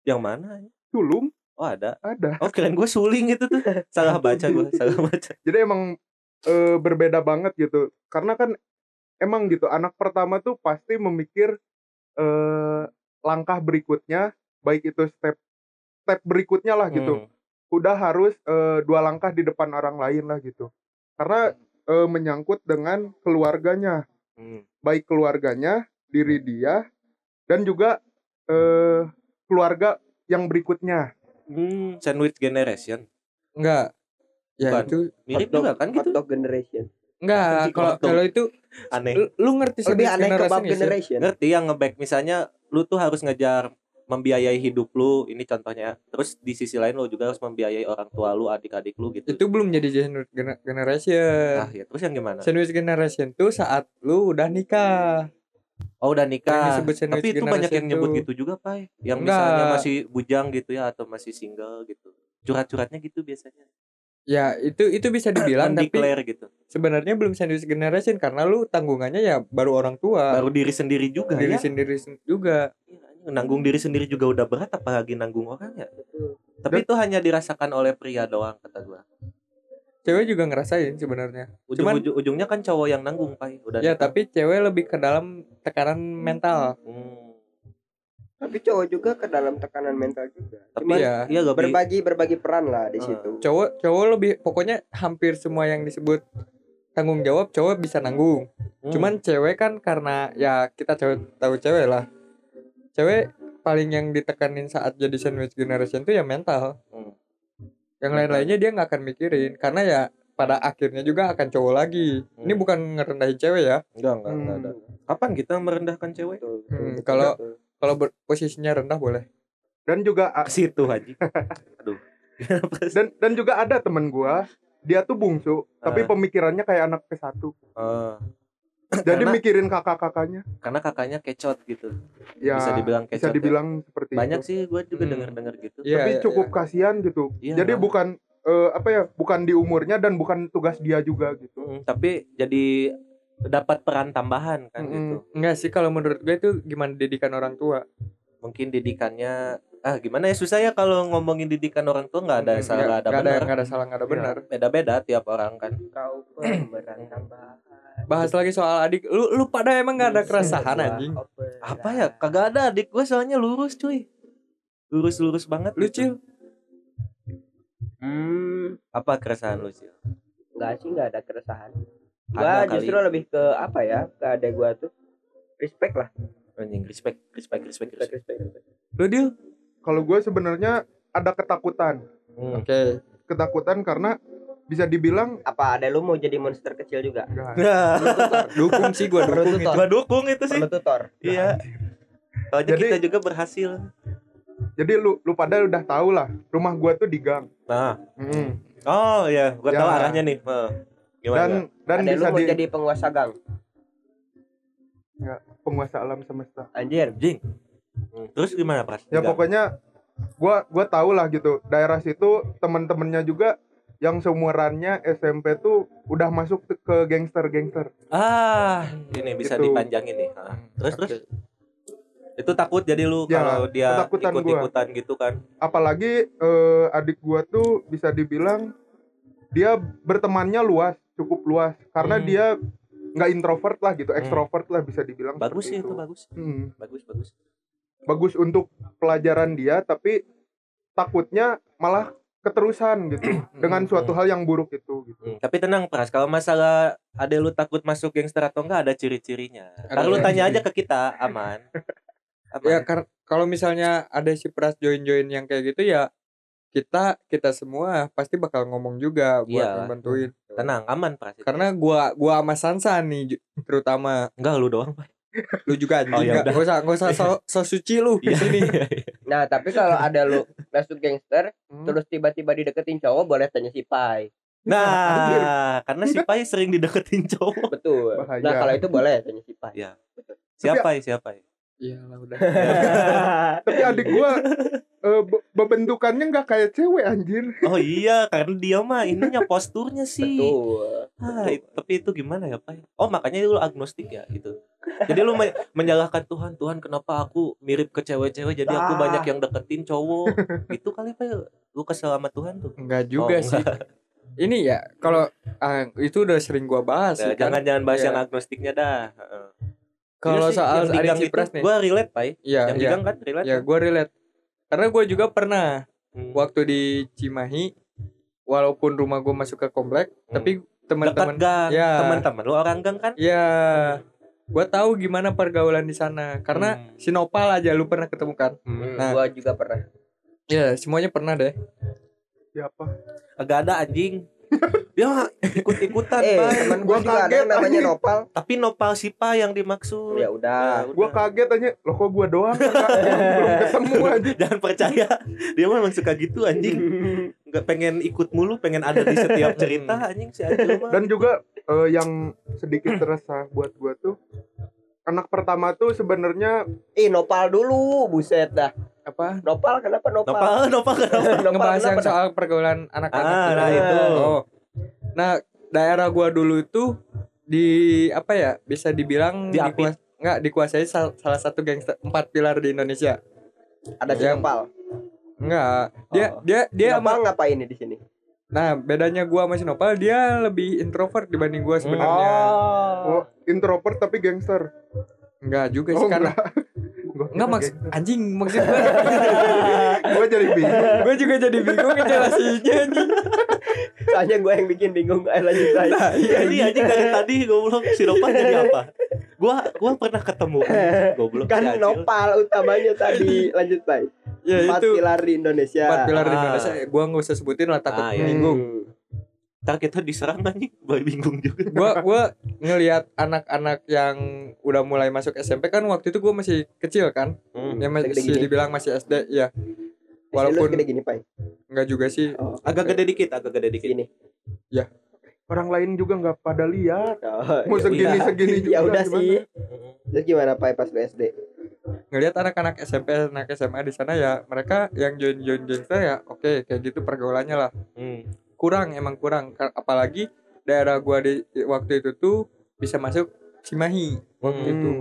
[SPEAKER 1] yang mana ya?
[SPEAKER 3] sulung
[SPEAKER 1] oh ada
[SPEAKER 3] ada.
[SPEAKER 1] oh keren gue suling itu
[SPEAKER 3] (laughs)
[SPEAKER 1] tuh salah baca gue salah baca
[SPEAKER 3] Jadi emang eh, berbeda banget gitu. Karena kan emang gitu anak pertama tuh pasti memikir eh langkah berikutnya, baik itu step step berikutnya lah
[SPEAKER 1] Hmm.
[SPEAKER 3] gitu. udah harus eh, dua langkah di depan orang lain lah gitu karena eh, menyangkut dengan keluarganya
[SPEAKER 1] Hmm.
[SPEAKER 3] baik keluarganya diri dia dan juga eh, keluarga yang berikutnya
[SPEAKER 1] Hmm, sandwich generation
[SPEAKER 2] enggak ya
[SPEAKER 1] Bukan.
[SPEAKER 2] itu
[SPEAKER 1] mirip
[SPEAKER 4] Hotdog-
[SPEAKER 1] juga kan gitu
[SPEAKER 4] hotdog generation
[SPEAKER 2] enggak kalau
[SPEAKER 1] Potong.
[SPEAKER 2] kalau itu
[SPEAKER 1] aneh
[SPEAKER 2] lu, lu ngerti
[SPEAKER 4] Eh. Oh, lebih
[SPEAKER 2] sandwich
[SPEAKER 4] aneh
[SPEAKER 2] generation
[SPEAKER 4] kebab
[SPEAKER 2] nggak sih?
[SPEAKER 4] generation
[SPEAKER 1] Iya, ngerti yang ngeback misalnya lu tuh harus ngejar membiayai hidup lu ini contohnya terus di sisi lain lu juga harus membiayai orang tua lu adik-adik lu gitu
[SPEAKER 2] itu belum jadi gener- gener- generation
[SPEAKER 4] Ah,
[SPEAKER 1] nah ya terus yang gimana
[SPEAKER 2] sandwich generation tuh saat lu udah nikah
[SPEAKER 1] oh udah
[SPEAKER 2] Yang
[SPEAKER 1] nikah
[SPEAKER 2] disebut sandwich
[SPEAKER 1] tapi itu banyak yang
[SPEAKER 2] generation
[SPEAKER 1] nyebut
[SPEAKER 2] tuh.
[SPEAKER 1] gitu juga pai yang
[SPEAKER 2] Enggak.
[SPEAKER 1] misalnya masih bujang gitu ya atau masih single gitu curhat-curhatnya gitu biasanya
[SPEAKER 2] ya itu itu bisa dibilang tapi
[SPEAKER 1] mendeklar gitu
[SPEAKER 2] sebenarnya belum sandwich generation karena lu tanggungannya ya baru orang tua
[SPEAKER 1] baru diri sendiri juga
[SPEAKER 2] diri
[SPEAKER 4] iya.
[SPEAKER 1] ya
[SPEAKER 2] sendiri sen- juga
[SPEAKER 1] Iya, anjing, nanggung diri sendiri juga udah berat apalagi nanggung orang ya tapi itu hanya dirasakan oleh pria doang kata gua
[SPEAKER 2] cewek juga ngerasain sebenarnya Cuman-
[SPEAKER 1] ujung-ujung ujungnya kan cowok yang nanggung pai udah
[SPEAKER 2] ya
[SPEAKER 1] nikah.
[SPEAKER 2] tapi cewek lebih ke dalam tekanan mental
[SPEAKER 1] Hmm.
[SPEAKER 4] tapi cowok juga ke dalam tekanan mental juga
[SPEAKER 1] tapi
[SPEAKER 4] Cuman
[SPEAKER 1] ya,
[SPEAKER 2] ya
[SPEAKER 1] iya lebih
[SPEAKER 4] berbagi berbagi peran lah
[SPEAKER 1] Ah.
[SPEAKER 4] di situ
[SPEAKER 2] cowok cowok lebih pokoknya hampir semua yang disebut tanggung jawab cowok bisa nanggung
[SPEAKER 1] Hmm.
[SPEAKER 2] Cuman cewek kan karena ya kita cewek tahu cewek lah. Cewek paling yang ditekanin saat jadi sandwich generation tuh ya mental.
[SPEAKER 1] Hmm.
[SPEAKER 2] Yang lain-lainnya dia nggak akan mikirin karena ya pada akhirnya juga akan cowok lagi. Ini
[SPEAKER 1] Hmm.
[SPEAKER 2] bukan ngerendahin cewek ya.
[SPEAKER 1] enggak enggak enggak
[SPEAKER 3] Hmm.
[SPEAKER 1] ada. Kapan kita merendahkan cewek?
[SPEAKER 4] Betul, betul,
[SPEAKER 2] Hmm,
[SPEAKER 4] betul,
[SPEAKER 2] kalau-
[SPEAKER 4] betul.
[SPEAKER 2] Kalau ber- posisinya rendah boleh.
[SPEAKER 3] dan juga
[SPEAKER 1] Ke situ Haji.
[SPEAKER 3] (laughs)
[SPEAKER 1] Aduh. Eh, Kenapa sih?
[SPEAKER 3] dan dan juga ada temen gua dia tuh bungsu
[SPEAKER 1] Ah.
[SPEAKER 3] tapi pemikirannya kayak anak ke
[SPEAKER 1] (laughs)
[SPEAKER 3] satu
[SPEAKER 1] Eh,
[SPEAKER 3] jadi
[SPEAKER 1] Karena-
[SPEAKER 3] mikirin kakak-kakaknya
[SPEAKER 1] karena kakaknya kecot gitu.
[SPEAKER 3] ya
[SPEAKER 1] bisa dibilang
[SPEAKER 3] bisa
[SPEAKER 1] kecot. ya.
[SPEAKER 3] dibilang gitu. seperti
[SPEAKER 1] Banyak
[SPEAKER 3] itu
[SPEAKER 1] sih gue juga
[SPEAKER 2] Hmm.
[SPEAKER 1] denger-denger gitu.
[SPEAKER 2] Iya,
[SPEAKER 3] tapi
[SPEAKER 2] iya,
[SPEAKER 3] cukup
[SPEAKER 2] iya.
[SPEAKER 3] kasihan gitu
[SPEAKER 1] Iya.
[SPEAKER 3] jadi bukan eh, apa ya bukan di umurnya dan bukan tugas dia juga gitu
[SPEAKER 1] Mm,
[SPEAKER 2] Hmm.
[SPEAKER 1] tapi jadi dapat peran tambahan kan
[SPEAKER 2] Hmm.
[SPEAKER 3] Mm-mm.
[SPEAKER 1] gitu.
[SPEAKER 2] Enggak sih kalau menurut gue itu gimana didikan orang tua.
[SPEAKER 1] Mungkin didikannya ah gimana ya susah ya kalau ngomongin didikan orang tua nggak ada
[SPEAKER 2] Hmm,
[SPEAKER 1] salah nggak ada
[SPEAKER 2] nggak ada
[SPEAKER 1] benar.
[SPEAKER 2] nggak ada salah nggak ada
[SPEAKER 3] Iya.
[SPEAKER 2] benar.
[SPEAKER 1] Beda-beda tiap orang kan. (clears throat)
[SPEAKER 4] kau pemeran tambahan
[SPEAKER 2] Bahas lagi soal adik. Lu lu pada emang nggak ada
[SPEAKER 1] Hmm.
[SPEAKER 2] keresahan
[SPEAKER 4] Sebuah
[SPEAKER 2] anjing.
[SPEAKER 4] opera.
[SPEAKER 1] Apa ya? Kagak ada adik gue soalnya lurus cuy. Lurus-lurus banget
[SPEAKER 2] Lu
[SPEAKER 1] gitu.
[SPEAKER 2] cil.
[SPEAKER 4] hmm
[SPEAKER 1] Apa keresahan lu sih?
[SPEAKER 4] nggak sih nggak ada keresahan
[SPEAKER 1] Ada
[SPEAKER 4] gua
[SPEAKER 1] kali.
[SPEAKER 4] justru lebih ke apa ya ke adek gua tuh respect lah
[SPEAKER 1] Anjing respect, respect, respect,
[SPEAKER 4] respect
[SPEAKER 1] respect.
[SPEAKER 4] respect, respect.
[SPEAKER 2] Lu deal.
[SPEAKER 3] kalau gue sebenarnya ada ketakutan
[SPEAKER 1] Hmm.
[SPEAKER 2] Oke.
[SPEAKER 3] ketakutan karena bisa dibilang
[SPEAKER 4] apa ada lu mau jadi monster kecil juga
[SPEAKER 3] enggak
[SPEAKER 1] Nah,
[SPEAKER 2] Dukung sih gua dukung.
[SPEAKER 4] perlu tutor
[SPEAKER 1] gua dukung itu sih.
[SPEAKER 4] perlu tutor
[SPEAKER 1] Iya. Soalnya
[SPEAKER 3] Jadi-
[SPEAKER 1] kita juga berhasil.
[SPEAKER 3] jadi lu lu pada udah tau lah rumah gue tuh di gang
[SPEAKER 1] Nah,
[SPEAKER 3] Mm.
[SPEAKER 1] oh ya, gua
[SPEAKER 3] Ya.
[SPEAKER 1] tahu arahnya nih. Heeh. Gimana?
[SPEAKER 3] dan
[SPEAKER 1] Dan,
[SPEAKER 3] dan
[SPEAKER 4] ada lu
[SPEAKER 3] Kan bisa
[SPEAKER 4] mau
[SPEAKER 3] di
[SPEAKER 4] jadi penguasa gang
[SPEAKER 3] penguasa alam semesta
[SPEAKER 4] anjir
[SPEAKER 1] Jing. Hmm, Terus gimana, Pras?
[SPEAKER 3] ya
[SPEAKER 1] Enggak.
[SPEAKER 3] pokoknya gue gue tau lah gitu daerah situ teman-temannya juga yang seumurannya SMP tuh udah masuk te- ke gangster gangster
[SPEAKER 1] Ah, ini bisa
[SPEAKER 3] Gitu.
[SPEAKER 1] dipanjangin nih. Heeh. Terus terus itu takut jadi lu
[SPEAKER 3] Ya,
[SPEAKER 1] kalau dia
[SPEAKER 3] ketakutan gua.
[SPEAKER 1] ikut-ikutan gitu kan.
[SPEAKER 3] apalagi eh, adik gue tuh bisa dibilang dia bertemannya luas cukup luas karena
[SPEAKER 1] Hmm.
[SPEAKER 3] dia nggak introvert lah gitu
[SPEAKER 1] Hmm.
[SPEAKER 3] ekstrovert lah bisa dibilang
[SPEAKER 1] Bagus sih
[SPEAKER 3] seperti
[SPEAKER 1] itu bagus.
[SPEAKER 3] Hmm.
[SPEAKER 1] Bagus, bagus.
[SPEAKER 3] bagus untuk pelajaran dia tapi takutnya malah keterusan
[SPEAKER 1] Hmm.
[SPEAKER 3] gitu dengan suatu hal yang buruk itu gitu.
[SPEAKER 2] Hmm.
[SPEAKER 1] Tapi tenang Pras, kalau masalah ada lu takut masuk gangster atau enggak ada ciri-cirinya.
[SPEAKER 2] Ada
[SPEAKER 1] Ntar lu tanya aja
[SPEAKER 2] ciri-ciri.
[SPEAKER 1] ke kita, aman. Aman.
[SPEAKER 2] ya kar- kalau misalnya ada si Pras join-join yang kayak gitu ya kita kita semua pasti bakal ngomong juga buat
[SPEAKER 1] Iya.
[SPEAKER 2] membantuin
[SPEAKER 1] tenang, aman Pras.
[SPEAKER 2] karena gua gua sama Sansa nih ju- terutama
[SPEAKER 1] enggak lu doang.
[SPEAKER 2] Iya,
[SPEAKER 1] Pak.
[SPEAKER 2] lu juga anjing
[SPEAKER 1] (laughs) Oh, ya
[SPEAKER 2] nggak gak usah gak usah so, so suci lu di
[SPEAKER 1] Iya. (laughs)
[SPEAKER 2] sini
[SPEAKER 4] Nah, tapi kalau ada lu masuk gangster,
[SPEAKER 2] Hmm.
[SPEAKER 4] terus tiba-tiba dideketin cowok, boleh tanya si Pai.
[SPEAKER 1] Nah, karena si Pai sering dideketin
[SPEAKER 2] (laughs)
[SPEAKER 1] cowok.
[SPEAKER 4] Betul.
[SPEAKER 3] Bahaya.
[SPEAKER 4] Nah, kalau itu boleh tanya si Pai.
[SPEAKER 1] Iya. Siapa ya, siapa ya?
[SPEAKER 2] Iyalah (laughs) udah
[SPEAKER 3] Tapi adik gua eh, be- bebentukannya nggak kayak cewek anjir.
[SPEAKER 1] Oh iya, karena dia mah ininya posturnya sih.
[SPEAKER 4] Betul.
[SPEAKER 1] Ah, it- tapi itu gimana ya, Pai? Oh, makanya lu agnostik ya gitu. Jadi lu
[SPEAKER 2] (laughs)
[SPEAKER 1] me- menyalahkan Tuhan, Tuhan kenapa aku mirip ke cewek-cewek jadi aku
[SPEAKER 4] Ah.
[SPEAKER 1] banyak yang deketin cowok. Itu kali Pai lu kesel sama Tuhan tuh.
[SPEAKER 2] Enggak juga
[SPEAKER 1] Oh,
[SPEAKER 2] sih ini ya kalau ah, itu udah sering gua bahas
[SPEAKER 1] Nah,
[SPEAKER 2] sih kan
[SPEAKER 1] jangan-jangan bahas
[SPEAKER 2] Iya.
[SPEAKER 1] yang agnostiknya dah. Heeh.
[SPEAKER 2] kalau
[SPEAKER 1] Iya sih,
[SPEAKER 2] soal
[SPEAKER 1] yang
[SPEAKER 2] ada
[SPEAKER 1] digang
[SPEAKER 2] si
[SPEAKER 1] itu,
[SPEAKER 2] Pras nih
[SPEAKER 1] Gua relate, Pai.
[SPEAKER 2] Iya
[SPEAKER 1] yang
[SPEAKER 2] iya
[SPEAKER 1] digang kan relate.
[SPEAKER 2] ya
[SPEAKER 1] kan?
[SPEAKER 2] gua relate karena gua juga pernah
[SPEAKER 1] Hmm.
[SPEAKER 2] waktu di Cimahi walaupun rumah gue masuk ke komplek
[SPEAKER 1] Hmm.
[SPEAKER 2] tapi
[SPEAKER 1] dekat
[SPEAKER 2] teman-teman
[SPEAKER 1] gang,
[SPEAKER 2] Ya.
[SPEAKER 1] teman-teman lu orang gang kan?
[SPEAKER 2] ya gue tahu gimana pergaulan di sana karena
[SPEAKER 1] Hmm.
[SPEAKER 2] sinopal aja lu pernah ketemu kan
[SPEAKER 1] Hmm.
[SPEAKER 4] Hmm,
[SPEAKER 2] Nah.
[SPEAKER 4] Gua juga pernah.
[SPEAKER 2] ya semuanya pernah deh
[SPEAKER 4] Ya
[SPEAKER 3] Siapa?
[SPEAKER 1] Agak ada anjing. Dia mah ikut-ikutan,
[SPEAKER 4] (laughs) Eh,
[SPEAKER 1] Kan Pai.
[SPEAKER 4] teman gua
[SPEAKER 3] Gua
[SPEAKER 4] juga ada
[SPEAKER 3] kaget,
[SPEAKER 4] namanya
[SPEAKER 3] anjing.
[SPEAKER 4] Nopal.
[SPEAKER 1] Tapi nopal sipa yang dimaksud.
[SPEAKER 4] Ya
[SPEAKER 1] Nah,
[SPEAKER 4] udah.
[SPEAKER 3] Gua kaget aja. Loh kok gua doang?
[SPEAKER 4] (laughs)
[SPEAKER 3] Kak? Belum
[SPEAKER 1] (laughs)
[SPEAKER 3] ketemu anjir.
[SPEAKER 1] Jangan percaya. Dia mah emang suka gitu anjing. Nggak pengen ikut mulu, pengen ada di setiap cerita anjing si Acil mah.
[SPEAKER 3] Dan juga eh, yang sedikit terasa buat gua tuh anak pertama tuh sebenarnya
[SPEAKER 4] Ih, Nopal dulu, buset dah.
[SPEAKER 2] apa
[SPEAKER 4] Nopal kenapa
[SPEAKER 1] nopal,
[SPEAKER 4] Nopal?
[SPEAKER 1] nopal kenapa?
[SPEAKER 4] (laughs) Nopal
[SPEAKER 2] ngebahas yang
[SPEAKER 4] kenapa dah?
[SPEAKER 2] soal pergaulan anak-anak
[SPEAKER 1] Ah,
[SPEAKER 2] gitu.
[SPEAKER 1] nah itu.
[SPEAKER 2] Oh. nah daerah gue dulu itu di apa ya bisa dibilang
[SPEAKER 1] Diapit.
[SPEAKER 2] dikuas- nggak dikuasai sal- salah satu gangster empat pilar di Indonesia
[SPEAKER 4] Ada si
[SPEAKER 2] Yang-
[SPEAKER 4] Nopal.
[SPEAKER 2] Enggak dia
[SPEAKER 1] Oh.
[SPEAKER 2] dia Iya. dia sama-
[SPEAKER 4] Nopal ngapain nih di sini?
[SPEAKER 2] nah bedanya gue sama Sinopal dia lebih introvert dibanding gue sebenarnya
[SPEAKER 3] oh,
[SPEAKER 4] Oh.
[SPEAKER 3] introvert tapi gangster.
[SPEAKER 2] Enggak juga sih
[SPEAKER 3] Oh,
[SPEAKER 2] karena
[SPEAKER 3] Gua
[SPEAKER 2] enggak
[SPEAKER 3] kira
[SPEAKER 2] maksud
[SPEAKER 3] (laughs)
[SPEAKER 2] anjing maksud gue
[SPEAKER 3] gangster. gua jadi bingung.
[SPEAKER 2] gue juga jadi bingung ngejelasinnya anjing.
[SPEAKER 4] Soalnya gua yang bikin bingung. Eh,
[SPEAKER 2] (laughs)
[SPEAKER 4] lanjut Pai.
[SPEAKER 2] Nah, iya,
[SPEAKER 1] Ini anjing dari tadi goblok si nopal jadi apa? Gua gua pernah ketemu kan, goblok
[SPEAKER 4] Kan
[SPEAKER 1] si Acil.
[SPEAKER 4] Nopal utamanya tadi. Lanjut Pai.
[SPEAKER 2] (laughs) ya
[SPEAKER 4] Empat
[SPEAKER 2] itu
[SPEAKER 4] pilar di Indonesia.
[SPEAKER 2] empat pilar di
[SPEAKER 1] Ah.
[SPEAKER 2] Indonesia gue nggak usah sebutin lah takut
[SPEAKER 1] Ah, iya.
[SPEAKER 2] bingung
[SPEAKER 4] Hmm.
[SPEAKER 1] Ntar kita diserang anjing, gue bingung juga.
[SPEAKER 2] gue gue ngelihat anak-anak yang udah mulai masuk SMP kan waktu itu gue masih kecil kan
[SPEAKER 4] Hmm,
[SPEAKER 2] ya masih
[SPEAKER 4] Segede-gede.
[SPEAKER 2] dibilang masih SD ya
[SPEAKER 4] Walaupun
[SPEAKER 2] walaupun Iya.
[SPEAKER 4] gede gini, Pai.
[SPEAKER 2] enggak juga sih
[SPEAKER 4] Oh,
[SPEAKER 1] Agak gede dikit, agak gede dikit.
[SPEAKER 2] Iya.
[SPEAKER 4] gini.
[SPEAKER 3] Orang lain juga nggak pada lihat.
[SPEAKER 4] Oh,
[SPEAKER 3] Mau
[SPEAKER 4] ya
[SPEAKER 3] segini
[SPEAKER 4] udah.
[SPEAKER 3] segini juga.
[SPEAKER 4] Ya udah
[SPEAKER 3] gimana?
[SPEAKER 4] sih. Terus gimana Pai pas lu SD?
[SPEAKER 2] ngelihat anak-anak SMP anak SMA di sana ya mereka yang join join gangster ya oke kayak gitu pergaulannya lah
[SPEAKER 1] Hmm.
[SPEAKER 2] kurang emang kurang Ka- apalagi daerah gua di waktu itu tuh bisa masuk Cimahi waktu
[SPEAKER 1] Hmm.
[SPEAKER 3] Gitu.
[SPEAKER 2] itu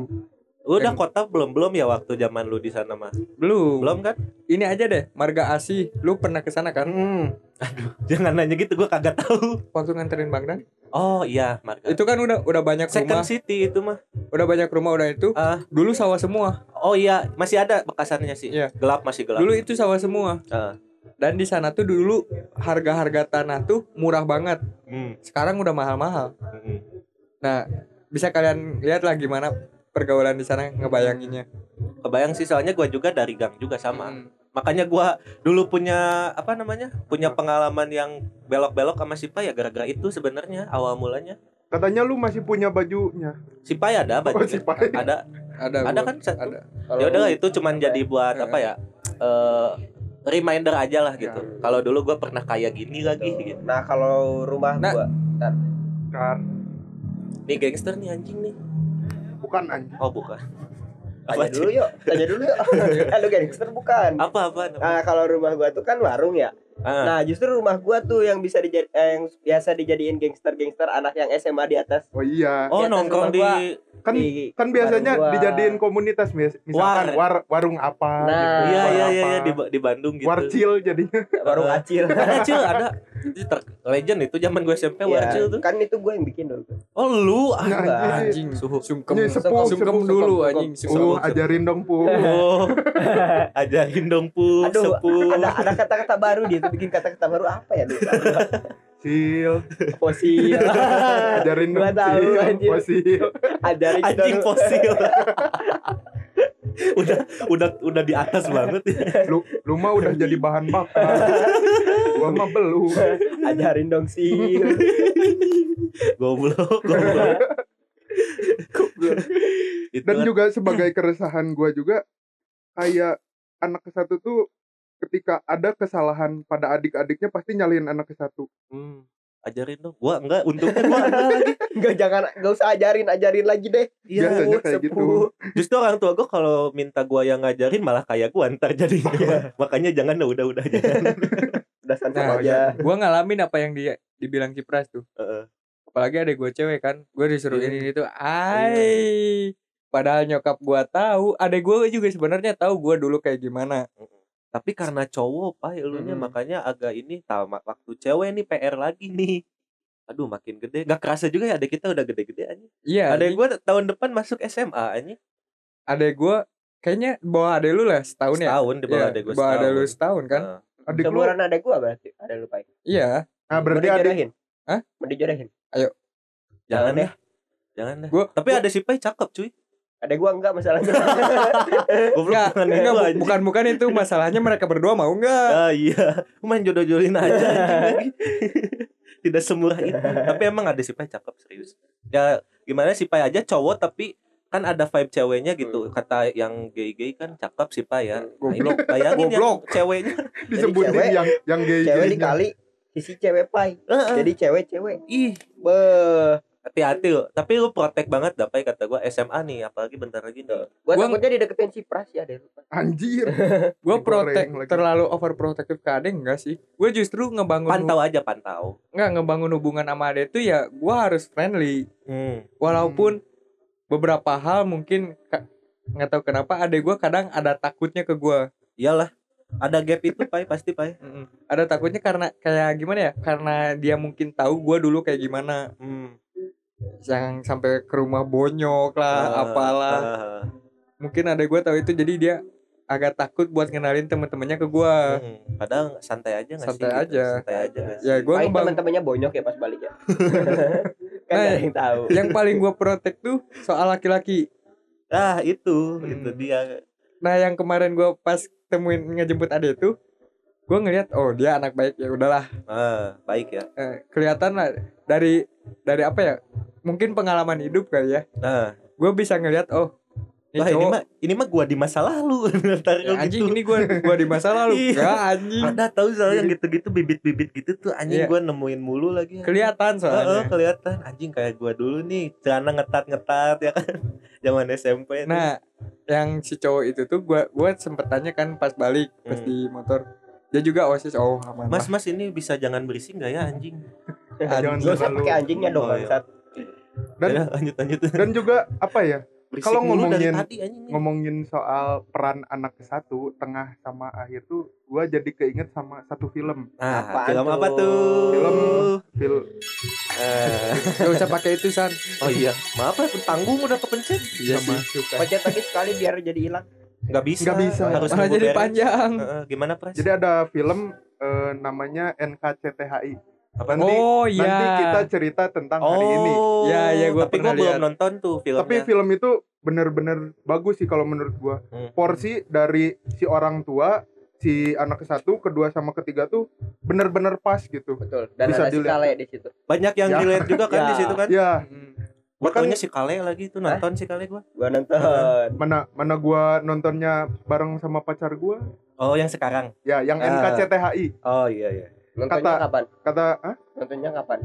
[SPEAKER 1] Lu udah
[SPEAKER 2] Yang-
[SPEAKER 1] kota belum belum ya waktu zaman lu di sana mah?
[SPEAKER 2] belum
[SPEAKER 1] Belum kan?
[SPEAKER 2] ini aja deh Marga Asih lu pernah kesana kan
[SPEAKER 3] Hmm.
[SPEAKER 1] Jangan nanya gitu, gua kagak tahu.
[SPEAKER 2] waktu nganterin Bang Dan
[SPEAKER 1] Oh iya, Marga.
[SPEAKER 2] itu kan udah udah banyak
[SPEAKER 1] Second
[SPEAKER 2] rumah
[SPEAKER 1] City itu mah.
[SPEAKER 2] udah banyak rumah udah itu
[SPEAKER 1] Ah.
[SPEAKER 2] dulu sawah semua
[SPEAKER 1] Oh iya, masih ada bekasannya sih.
[SPEAKER 2] Iya.
[SPEAKER 1] Gelap masih gelap.
[SPEAKER 2] dulu itu sawah semua
[SPEAKER 1] Ah.
[SPEAKER 2] dan di sana tuh dulu harga-harga tanah tuh murah banget
[SPEAKER 1] Hmm.
[SPEAKER 2] sekarang udah mahal-mahal
[SPEAKER 1] Hmm.
[SPEAKER 2] Nah, bisa kalian lihat lah gimana pergaulan di sana ngebayanginnya.
[SPEAKER 1] Kebayang sih soalnya gua juga dari gang juga sama.
[SPEAKER 2] Hmm.
[SPEAKER 1] Makanya gua dulu punya apa namanya? Punya pengalaman yang belok-belok sama Sipa ya gara-gara itu sebenarnya awal mulanya.
[SPEAKER 3] Katanya lu masih punya bajunya.
[SPEAKER 1] Sipa ya ada
[SPEAKER 3] Oh,
[SPEAKER 1] bajunya.
[SPEAKER 3] si Pai.
[SPEAKER 1] Ada
[SPEAKER 2] Ada
[SPEAKER 1] ada
[SPEAKER 2] gua-
[SPEAKER 1] kan satu.
[SPEAKER 2] Ada.
[SPEAKER 4] Kalau
[SPEAKER 1] ya udah
[SPEAKER 4] lu- gitu.
[SPEAKER 1] itu cuman
[SPEAKER 4] apa
[SPEAKER 1] jadi buat
[SPEAKER 2] Eh.
[SPEAKER 1] apa ya eh reminder aja lah gitu
[SPEAKER 2] Ya.
[SPEAKER 1] kalau dulu gue pernah kayak gini lagi gitu
[SPEAKER 4] Nah, kalau rumah
[SPEAKER 2] Nah.
[SPEAKER 4] gua
[SPEAKER 3] Kar,
[SPEAKER 1] nih gangster nih anjing nih
[SPEAKER 3] bukan anjing.
[SPEAKER 1] oh bukan apa
[SPEAKER 4] tanya dulu
[SPEAKER 1] Cik?
[SPEAKER 2] (laughs)
[SPEAKER 4] yuk. Tanya dulu yuk. Eh, lu gangster bukan?
[SPEAKER 1] apa Ah. apa
[SPEAKER 4] Nah, kalau rumah gua tuh kan warung ya.
[SPEAKER 1] Ah.
[SPEAKER 4] Nah, justru rumah gua tuh yang bisa dijad- eh, yang biasa dijadiin gangster-gangster anak yang SMA di atas.
[SPEAKER 3] Oh iya.
[SPEAKER 1] oh
[SPEAKER 4] atas
[SPEAKER 1] nongkrong di
[SPEAKER 4] rumah
[SPEAKER 3] Kan
[SPEAKER 4] di
[SPEAKER 3] kan biasanya
[SPEAKER 4] warung gua.
[SPEAKER 3] dijadiin komunitas mis- misalkan war, warung apa gitu.
[SPEAKER 4] Nah.
[SPEAKER 1] iya
[SPEAKER 3] war
[SPEAKER 1] iya iya
[SPEAKER 3] apa.
[SPEAKER 1] iya, di, Ba- di Bandung gitu
[SPEAKER 3] Warcil jadinya.
[SPEAKER 4] warung
[SPEAKER 1] (laughs)
[SPEAKER 4] acil.
[SPEAKER 1] ada cil ada Itu ter- legend itu zaman gue SMP warcil
[SPEAKER 4] Iya,
[SPEAKER 1] tuh
[SPEAKER 4] kan itu gua yang bikin dulu.
[SPEAKER 1] oh lu ah.
[SPEAKER 3] Ya, anjir.
[SPEAKER 2] anjing
[SPEAKER 1] Suhu.
[SPEAKER 2] sungkem
[SPEAKER 3] Ini sepuh,
[SPEAKER 2] sungkem
[SPEAKER 3] sepuh,
[SPEAKER 2] dulu
[SPEAKER 4] sepuh,
[SPEAKER 2] anjing
[SPEAKER 3] Uh,
[SPEAKER 2] sungkem
[SPEAKER 3] ajarin dong
[SPEAKER 1] (laughs)
[SPEAKER 3] pu.
[SPEAKER 4] (laughs)
[SPEAKER 1] Oh, ajarin dong pu,
[SPEAKER 4] Aduh,
[SPEAKER 1] sepuh.
[SPEAKER 4] ada ada kata-kata baru dia tuh bikin kata-kata baru apa ya dulu?
[SPEAKER 3] Sil.
[SPEAKER 4] Fosil.
[SPEAKER 3] Ajarin
[SPEAKER 4] Gua
[SPEAKER 3] dong.
[SPEAKER 4] tahu,
[SPEAKER 3] Sil.
[SPEAKER 4] anjir.
[SPEAKER 3] Oh, sil.
[SPEAKER 4] Ajarin kita
[SPEAKER 1] Anjing
[SPEAKER 4] dulu. (laughs)
[SPEAKER 1] fosil. udah udah udah di atas banget.
[SPEAKER 3] Lu, lu mah udah jadi bahan
[SPEAKER 1] (laughs)
[SPEAKER 3] bakar. Gua mah belum.
[SPEAKER 4] Ajarin dong sih.
[SPEAKER 1] goblok, goblok. Itu
[SPEAKER 3] dan
[SPEAKER 1] kan-
[SPEAKER 3] juga sebagai keresahan gua juga kayak anak ke satu tuh ketika ada kesalahan pada adik-adiknya pasti nyalain anak ke satu
[SPEAKER 1] Hmm, ajarin dong. Gua enggak, untungnya gua enggak lagi.
[SPEAKER 4] Enggak jangan enggak usah ajarin, ajarin lagi deh.
[SPEAKER 1] Iya,
[SPEAKER 3] Biasanya kayak gitu.
[SPEAKER 1] Justru orang tua gua kalau minta gua yang ngajarin malah kayak gua ntar jadi.
[SPEAKER 4] Iya.
[SPEAKER 1] Makanya jangan dah, udah udah jangan.
[SPEAKER 4] Udah santai
[SPEAKER 2] Nah,
[SPEAKER 4] aja.
[SPEAKER 2] gua ngalamin apa yang dia dibilang Cipras tuh
[SPEAKER 1] Heeh.
[SPEAKER 2] apalagi ada gue cewek kan gue disuruh
[SPEAKER 1] Iya.
[SPEAKER 2] ini itu ai padahal nyokap gua tahu adek gue juga sebenarnya tahu gua dulu kayak gimana
[SPEAKER 1] Tapi karena cowok pak elunya
[SPEAKER 4] Hmm.
[SPEAKER 2] Mm-mm.
[SPEAKER 1] makanya agak ini tamat waktu cewek nih PR lagi nih. Aduh makin gede. Gak kerasa juga ya adek kita udah gede-gede aja.
[SPEAKER 2] iya
[SPEAKER 1] Adek
[SPEAKER 2] adek
[SPEAKER 1] gua tahun depan masuk SMA aja.
[SPEAKER 2] adek gue kayaknya bawa adek lu lah setahun ya
[SPEAKER 1] Setahun di bawah adek gua
[SPEAKER 2] bawa
[SPEAKER 1] setahun. Eh,
[SPEAKER 2] adek lu setahun kan
[SPEAKER 1] Heeh.
[SPEAKER 3] adik lu
[SPEAKER 4] Seumuran ada gua berarti. Ada lupa.
[SPEAKER 2] iya
[SPEAKER 3] nah berarti
[SPEAKER 4] Mau
[SPEAKER 3] adik
[SPEAKER 4] dijodohin?
[SPEAKER 2] Hah?
[SPEAKER 4] Mau dijodohin?
[SPEAKER 1] Jangan
[SPEAKER 4] Jangan
[SPEAKER 1] deh. Jangan deh.
[SPEAKER 2] Gua-
[SPEAKER 1] (laughs) Tapi ada si Pai cakep cuy.
[SPEAKER 2] Iya,
[SPEAKER 4] Ada gua enggak masalahnya.
[SPEAKER 1] Goblok
[SPEAKER 2] Enggak,
[SPEAKER 1] bukan gua,
[SPEAKER 2] enggak, bu-
[SPEAKER 1] anjing.
[SPEAKER 2] bukan bukan itu masalahnya mereka
[SPEAKER 1] (laughs)
[SPEAKER 2] berdua mau enggak?
[SPEAKER 1] Ah iya, main jodoh-jodohin aja anjing
[SPEAKER 2] (laughs)
[SPEAKER 1] lagi. Tidak semurah itu. Tapi emang ada si Pai cakep serius. Ya gimana si Pai aja cowok tapi kan ada vibe ceweknya gitu. Kata yang gay-gay kan cakep si Pai ya. Nah, ini
[SPEAKER 2] Hmm. Goblok.
[SPEAKER 1] bayangin yang
[SPEAKER 2] Goblok.
[SPEAKER 1] ceweknya.
[SPEAKER 3] disebutin
[SPEAKER 4] cewek-
[SPEAKER 3] yang yang gay
[SPEAKER 4] cewek dikali sisi cewek pai.
[SPEAKER 1] Heeh.
[SPEAKER 4] Jadi cewek-cewek.
[SPEAKER 1] Ih,
[SPEAKER 4] Be.
[SPEAKER 1] hati-hati lo. Tapi lu protek banget dah Pai kata gua SMA nih, apalagi bentar lagi nih.
[SPEAKER 4] Gua,
[SPEAKER 2] Gua-
[SPEAKER 4] takutnya dideketin si Pras ya deh.
[SPEAKER 3] anjir
[SPEAKER 2] Gue
[SPEAKER 3] Digoreng
[SPEAKER 2] protek
[SPEAKER 3] lagi.
[SPEAKER 2] terlalu overprotective ke Ade enggak sih? Gue justru ngebangun
[SPEAKER 1] Pantau aja pantau.
[SPEAKER 2] enggak ngebangun hubungan sama Ade tuh ya gue harus friendly
[SPEAKER 1] Hmm.
[SPEAKER 2] walaupun beberapa hal mungkin ka- nggak tahu kenapa Ade gue kadang ada takutnya ke gue.
[SPEAKER 1] Iyalah. Ada gap itu Pai pasti Pai.
[SPEAKER 2] Ada takutnya karena kayak gimana ya? Karena dia mungkin tahu gue dulu kayak gimana
[SPEAKER 1] Hmm.
[SPEAKER 2] yang sampai ke rumah
[SPEAKER 1] Eh,
[SPEAKER 2] bonyok lah Ah, apalah.
[SPEAKER 1] Ah,
[SPEAKER 2] Mungkin Ade gue tahu itu jadi dia agak takut buat ngenalin temen-temennya ke gue.
[SPEAKER 1] ah. Hmm. Padahal santai aja nggak sih?
[SPEAKER 2] Santai
[SPEAKER 1] gitu?
[SPEAKER 2] aja.
[SPEAKER 1] Santai aja nggak sih?
[SPEAKER 2] Ya gue
[SPEAKER 4] Pai
[SPEAKER 2] ngebangun
[SPEAKER 4] teman-temannya bonyok ya pas balik ya. kan
[SPEAKER 2] Nah,
[SPEAKER 4] gak ada yang tahu.
[SPEAKER 2] yang paling gue protek tuh soal laki-laki
[SPEAKER 1] Ah itu
[SPEAKER 2] Hmm.
[SPEAKER 1] itu dia.
[SPEAKER 2] nah yang kemarin gue pas temuin ngejemput ade tuh gue ngeliat oh dia anak baik ya udahlah
[SPEAKER 1] Ah, baik ya.
[SPEAKER 2] Eh, kelihatan lah dari dari apa ya mungkin pengalaman hidup kali ya
[SPEAKER 1] Nah,
[SPEAKER 2] gue bisa ngeliat oh ini
[SPEAKER 1] wah ini
[SPEAKER 2] cowok
[SPEAKER 1] mah ini mah gua di masa lalu. (laughs) Ntar
[SPEAKER 2] ya,
[SPEAKER 1] lu
[SPEAKER 2] anjing
[SPEAKER 1] gitu.
[SPEAKER 2] ini gue gua di masa lalu
[SPEAKER 1] (laughs) Iya.
[SPEAKER 2] Enggak, anjing
[SPEAKER 1] Ada tahu soalnya yang gitu-gitu bibit-bibit gitu tuh anjing
[SPEAKER 2] Iya.
[SPEAKER 1] gua nemuin mulu lagi. Heeh,
[SPEAKER 2] kelihatan soalnya
[SPEAKER 1] kelihatan anjing kayak gua dulu nih, celana ngetat-ngetat ya kan. (laughs) Zaman SMP tuh.
[SPEAKER 2] nah yang si cowok itu tuh gue gue sempet tanya kan pas balik pas
[SPEAKER 1] Hmm.
[SPEAKER 2] di motor dia juga osis oh aman
[SPEAKER 1] Mas, mas ini bisa jangan berisik nggak ya anjing?
[SPEAKER 3] Jangan
[SPEAKER 4] Lu usah
[SPEAKER 3] terlalu.
[SPEAKER 4] pakai anjingnya dong
[SPEAKER 1] Oh, iya.
[SPEAKER 4] bangsat.
[SPEAKER 3] Dan-
[SPEAKER 1] Ya, lanjut lanjut.
[SPEAKER 3] dan juga apa ya
[SPEAKER 1] Berisik
[SPEAKER 3] kalau
[SPEAKER 1] mulu dari
[SPEAKER 3] ngomongin-
[SPEAKER 1] tadi anjing.
[SPEAKER 3] ngomongin soal peran anak ke satu tengah sama akhir tuh gua jadi keinget sama satu film
[SPEAKER 1] Nah,
[SPEAKER 4] Apaan
[SPEAKER 1] film apa
[SPEAKER 4] tuh?
[SPEAKER 1] tuh?
[SPEAKER 3] Film. film
[SPEAKER 1] Eh,
[SPEAKER 2] gak usah pakai itu san
[SPEAKER 1] oh iya, maaf ya tanggung udah kepencet.
[SPEAKER 2] Iya
[SPEAKER 3] sama
[SPEAKER 2] sih.
[SPEAKER 3] suka
[SPEAKER 4] Pencet lagi sekali biar jadi hilang.
[SPEAKER 1] Nggak bisa.
[SPEAKER 3] Nggak bisa.
[SPEAKER 1] Harus
[SPEAKER 2] malah
[SPEAKER 1] nunggu
[SPEAKER 2] jadi
[SPEAKER 1] beres.
[SPEAKER 2] panjang
[SPEAKER 1] Heeh, gimana Pres?
[SPEAKER 3] jadi ada film eh, namanya NKCTHI
[SPEAKER 1] Apa?
[SPEAKER 3] nanti
[SPEAKER 2] oh iya
[SPEAKER 3] nanti kita cerita tentang hari ini
[SPEAKER 2] Ya, ya, gua
[SPEAKER 1] tapi
[SPEAKER 2] pernah
[SPEAKER 1] gua belum
[SPEAKER 2] lihat.
[SPEAKER 1] nonton tuh Oh, filmnya.
[SPEAKER 3] tapi film itu bener-bener bagus sih kalau menurut gua
[SPEAKER 1] Hmm.
[SPEAKER 3] porsi dari si orang tua si anak ke satu kedua sama ketiga tuh bener-bener pas gitu
[SPEAKER 4] Betul. Dan
[SPEAKER 3] Bisa
[SPEAKER 4] ada si
[SPEAKER 3] dilihat.
[SPEAKER 4] Kale di situ.
[SPEAKER 1] banyak yang
[SPEAKER 3] Ya.
[SPEAKER 1] dilihat juga kan
[SPEAKER 4] Ya.
[SPEAKER 1] (laughs) di situ kan.
[SPEAKER 3] ya
[SPEAKER 1] Gua
[SPEAKER 3] bahkan-
[SPEAKER 1] taunya si Kale lagi tuh nonton
[SPEAKER 3] Eh?
[SPEAKER 1] si Kale gua.
[SPEAKER 4] Gua nonton.
[SPEAKER 3] mana mana gua nontonnya bareng sama pacar gua
[SPEAKER 1] Oh, yang sekarang.
[SPEAKER 3] ya yang
[SPEAKER 1] Ah.
[SPEAKER 3] NKCTHI
[SPEAKER 1] Oh iya iya.
[SPEAKER 4] Nontonnya
[SPEAKER 3] Kata-
[SPEAKER 4] kapan?
[SPEAKER 3] kata ah
[SPEAKER 4] Nontonnya kapan?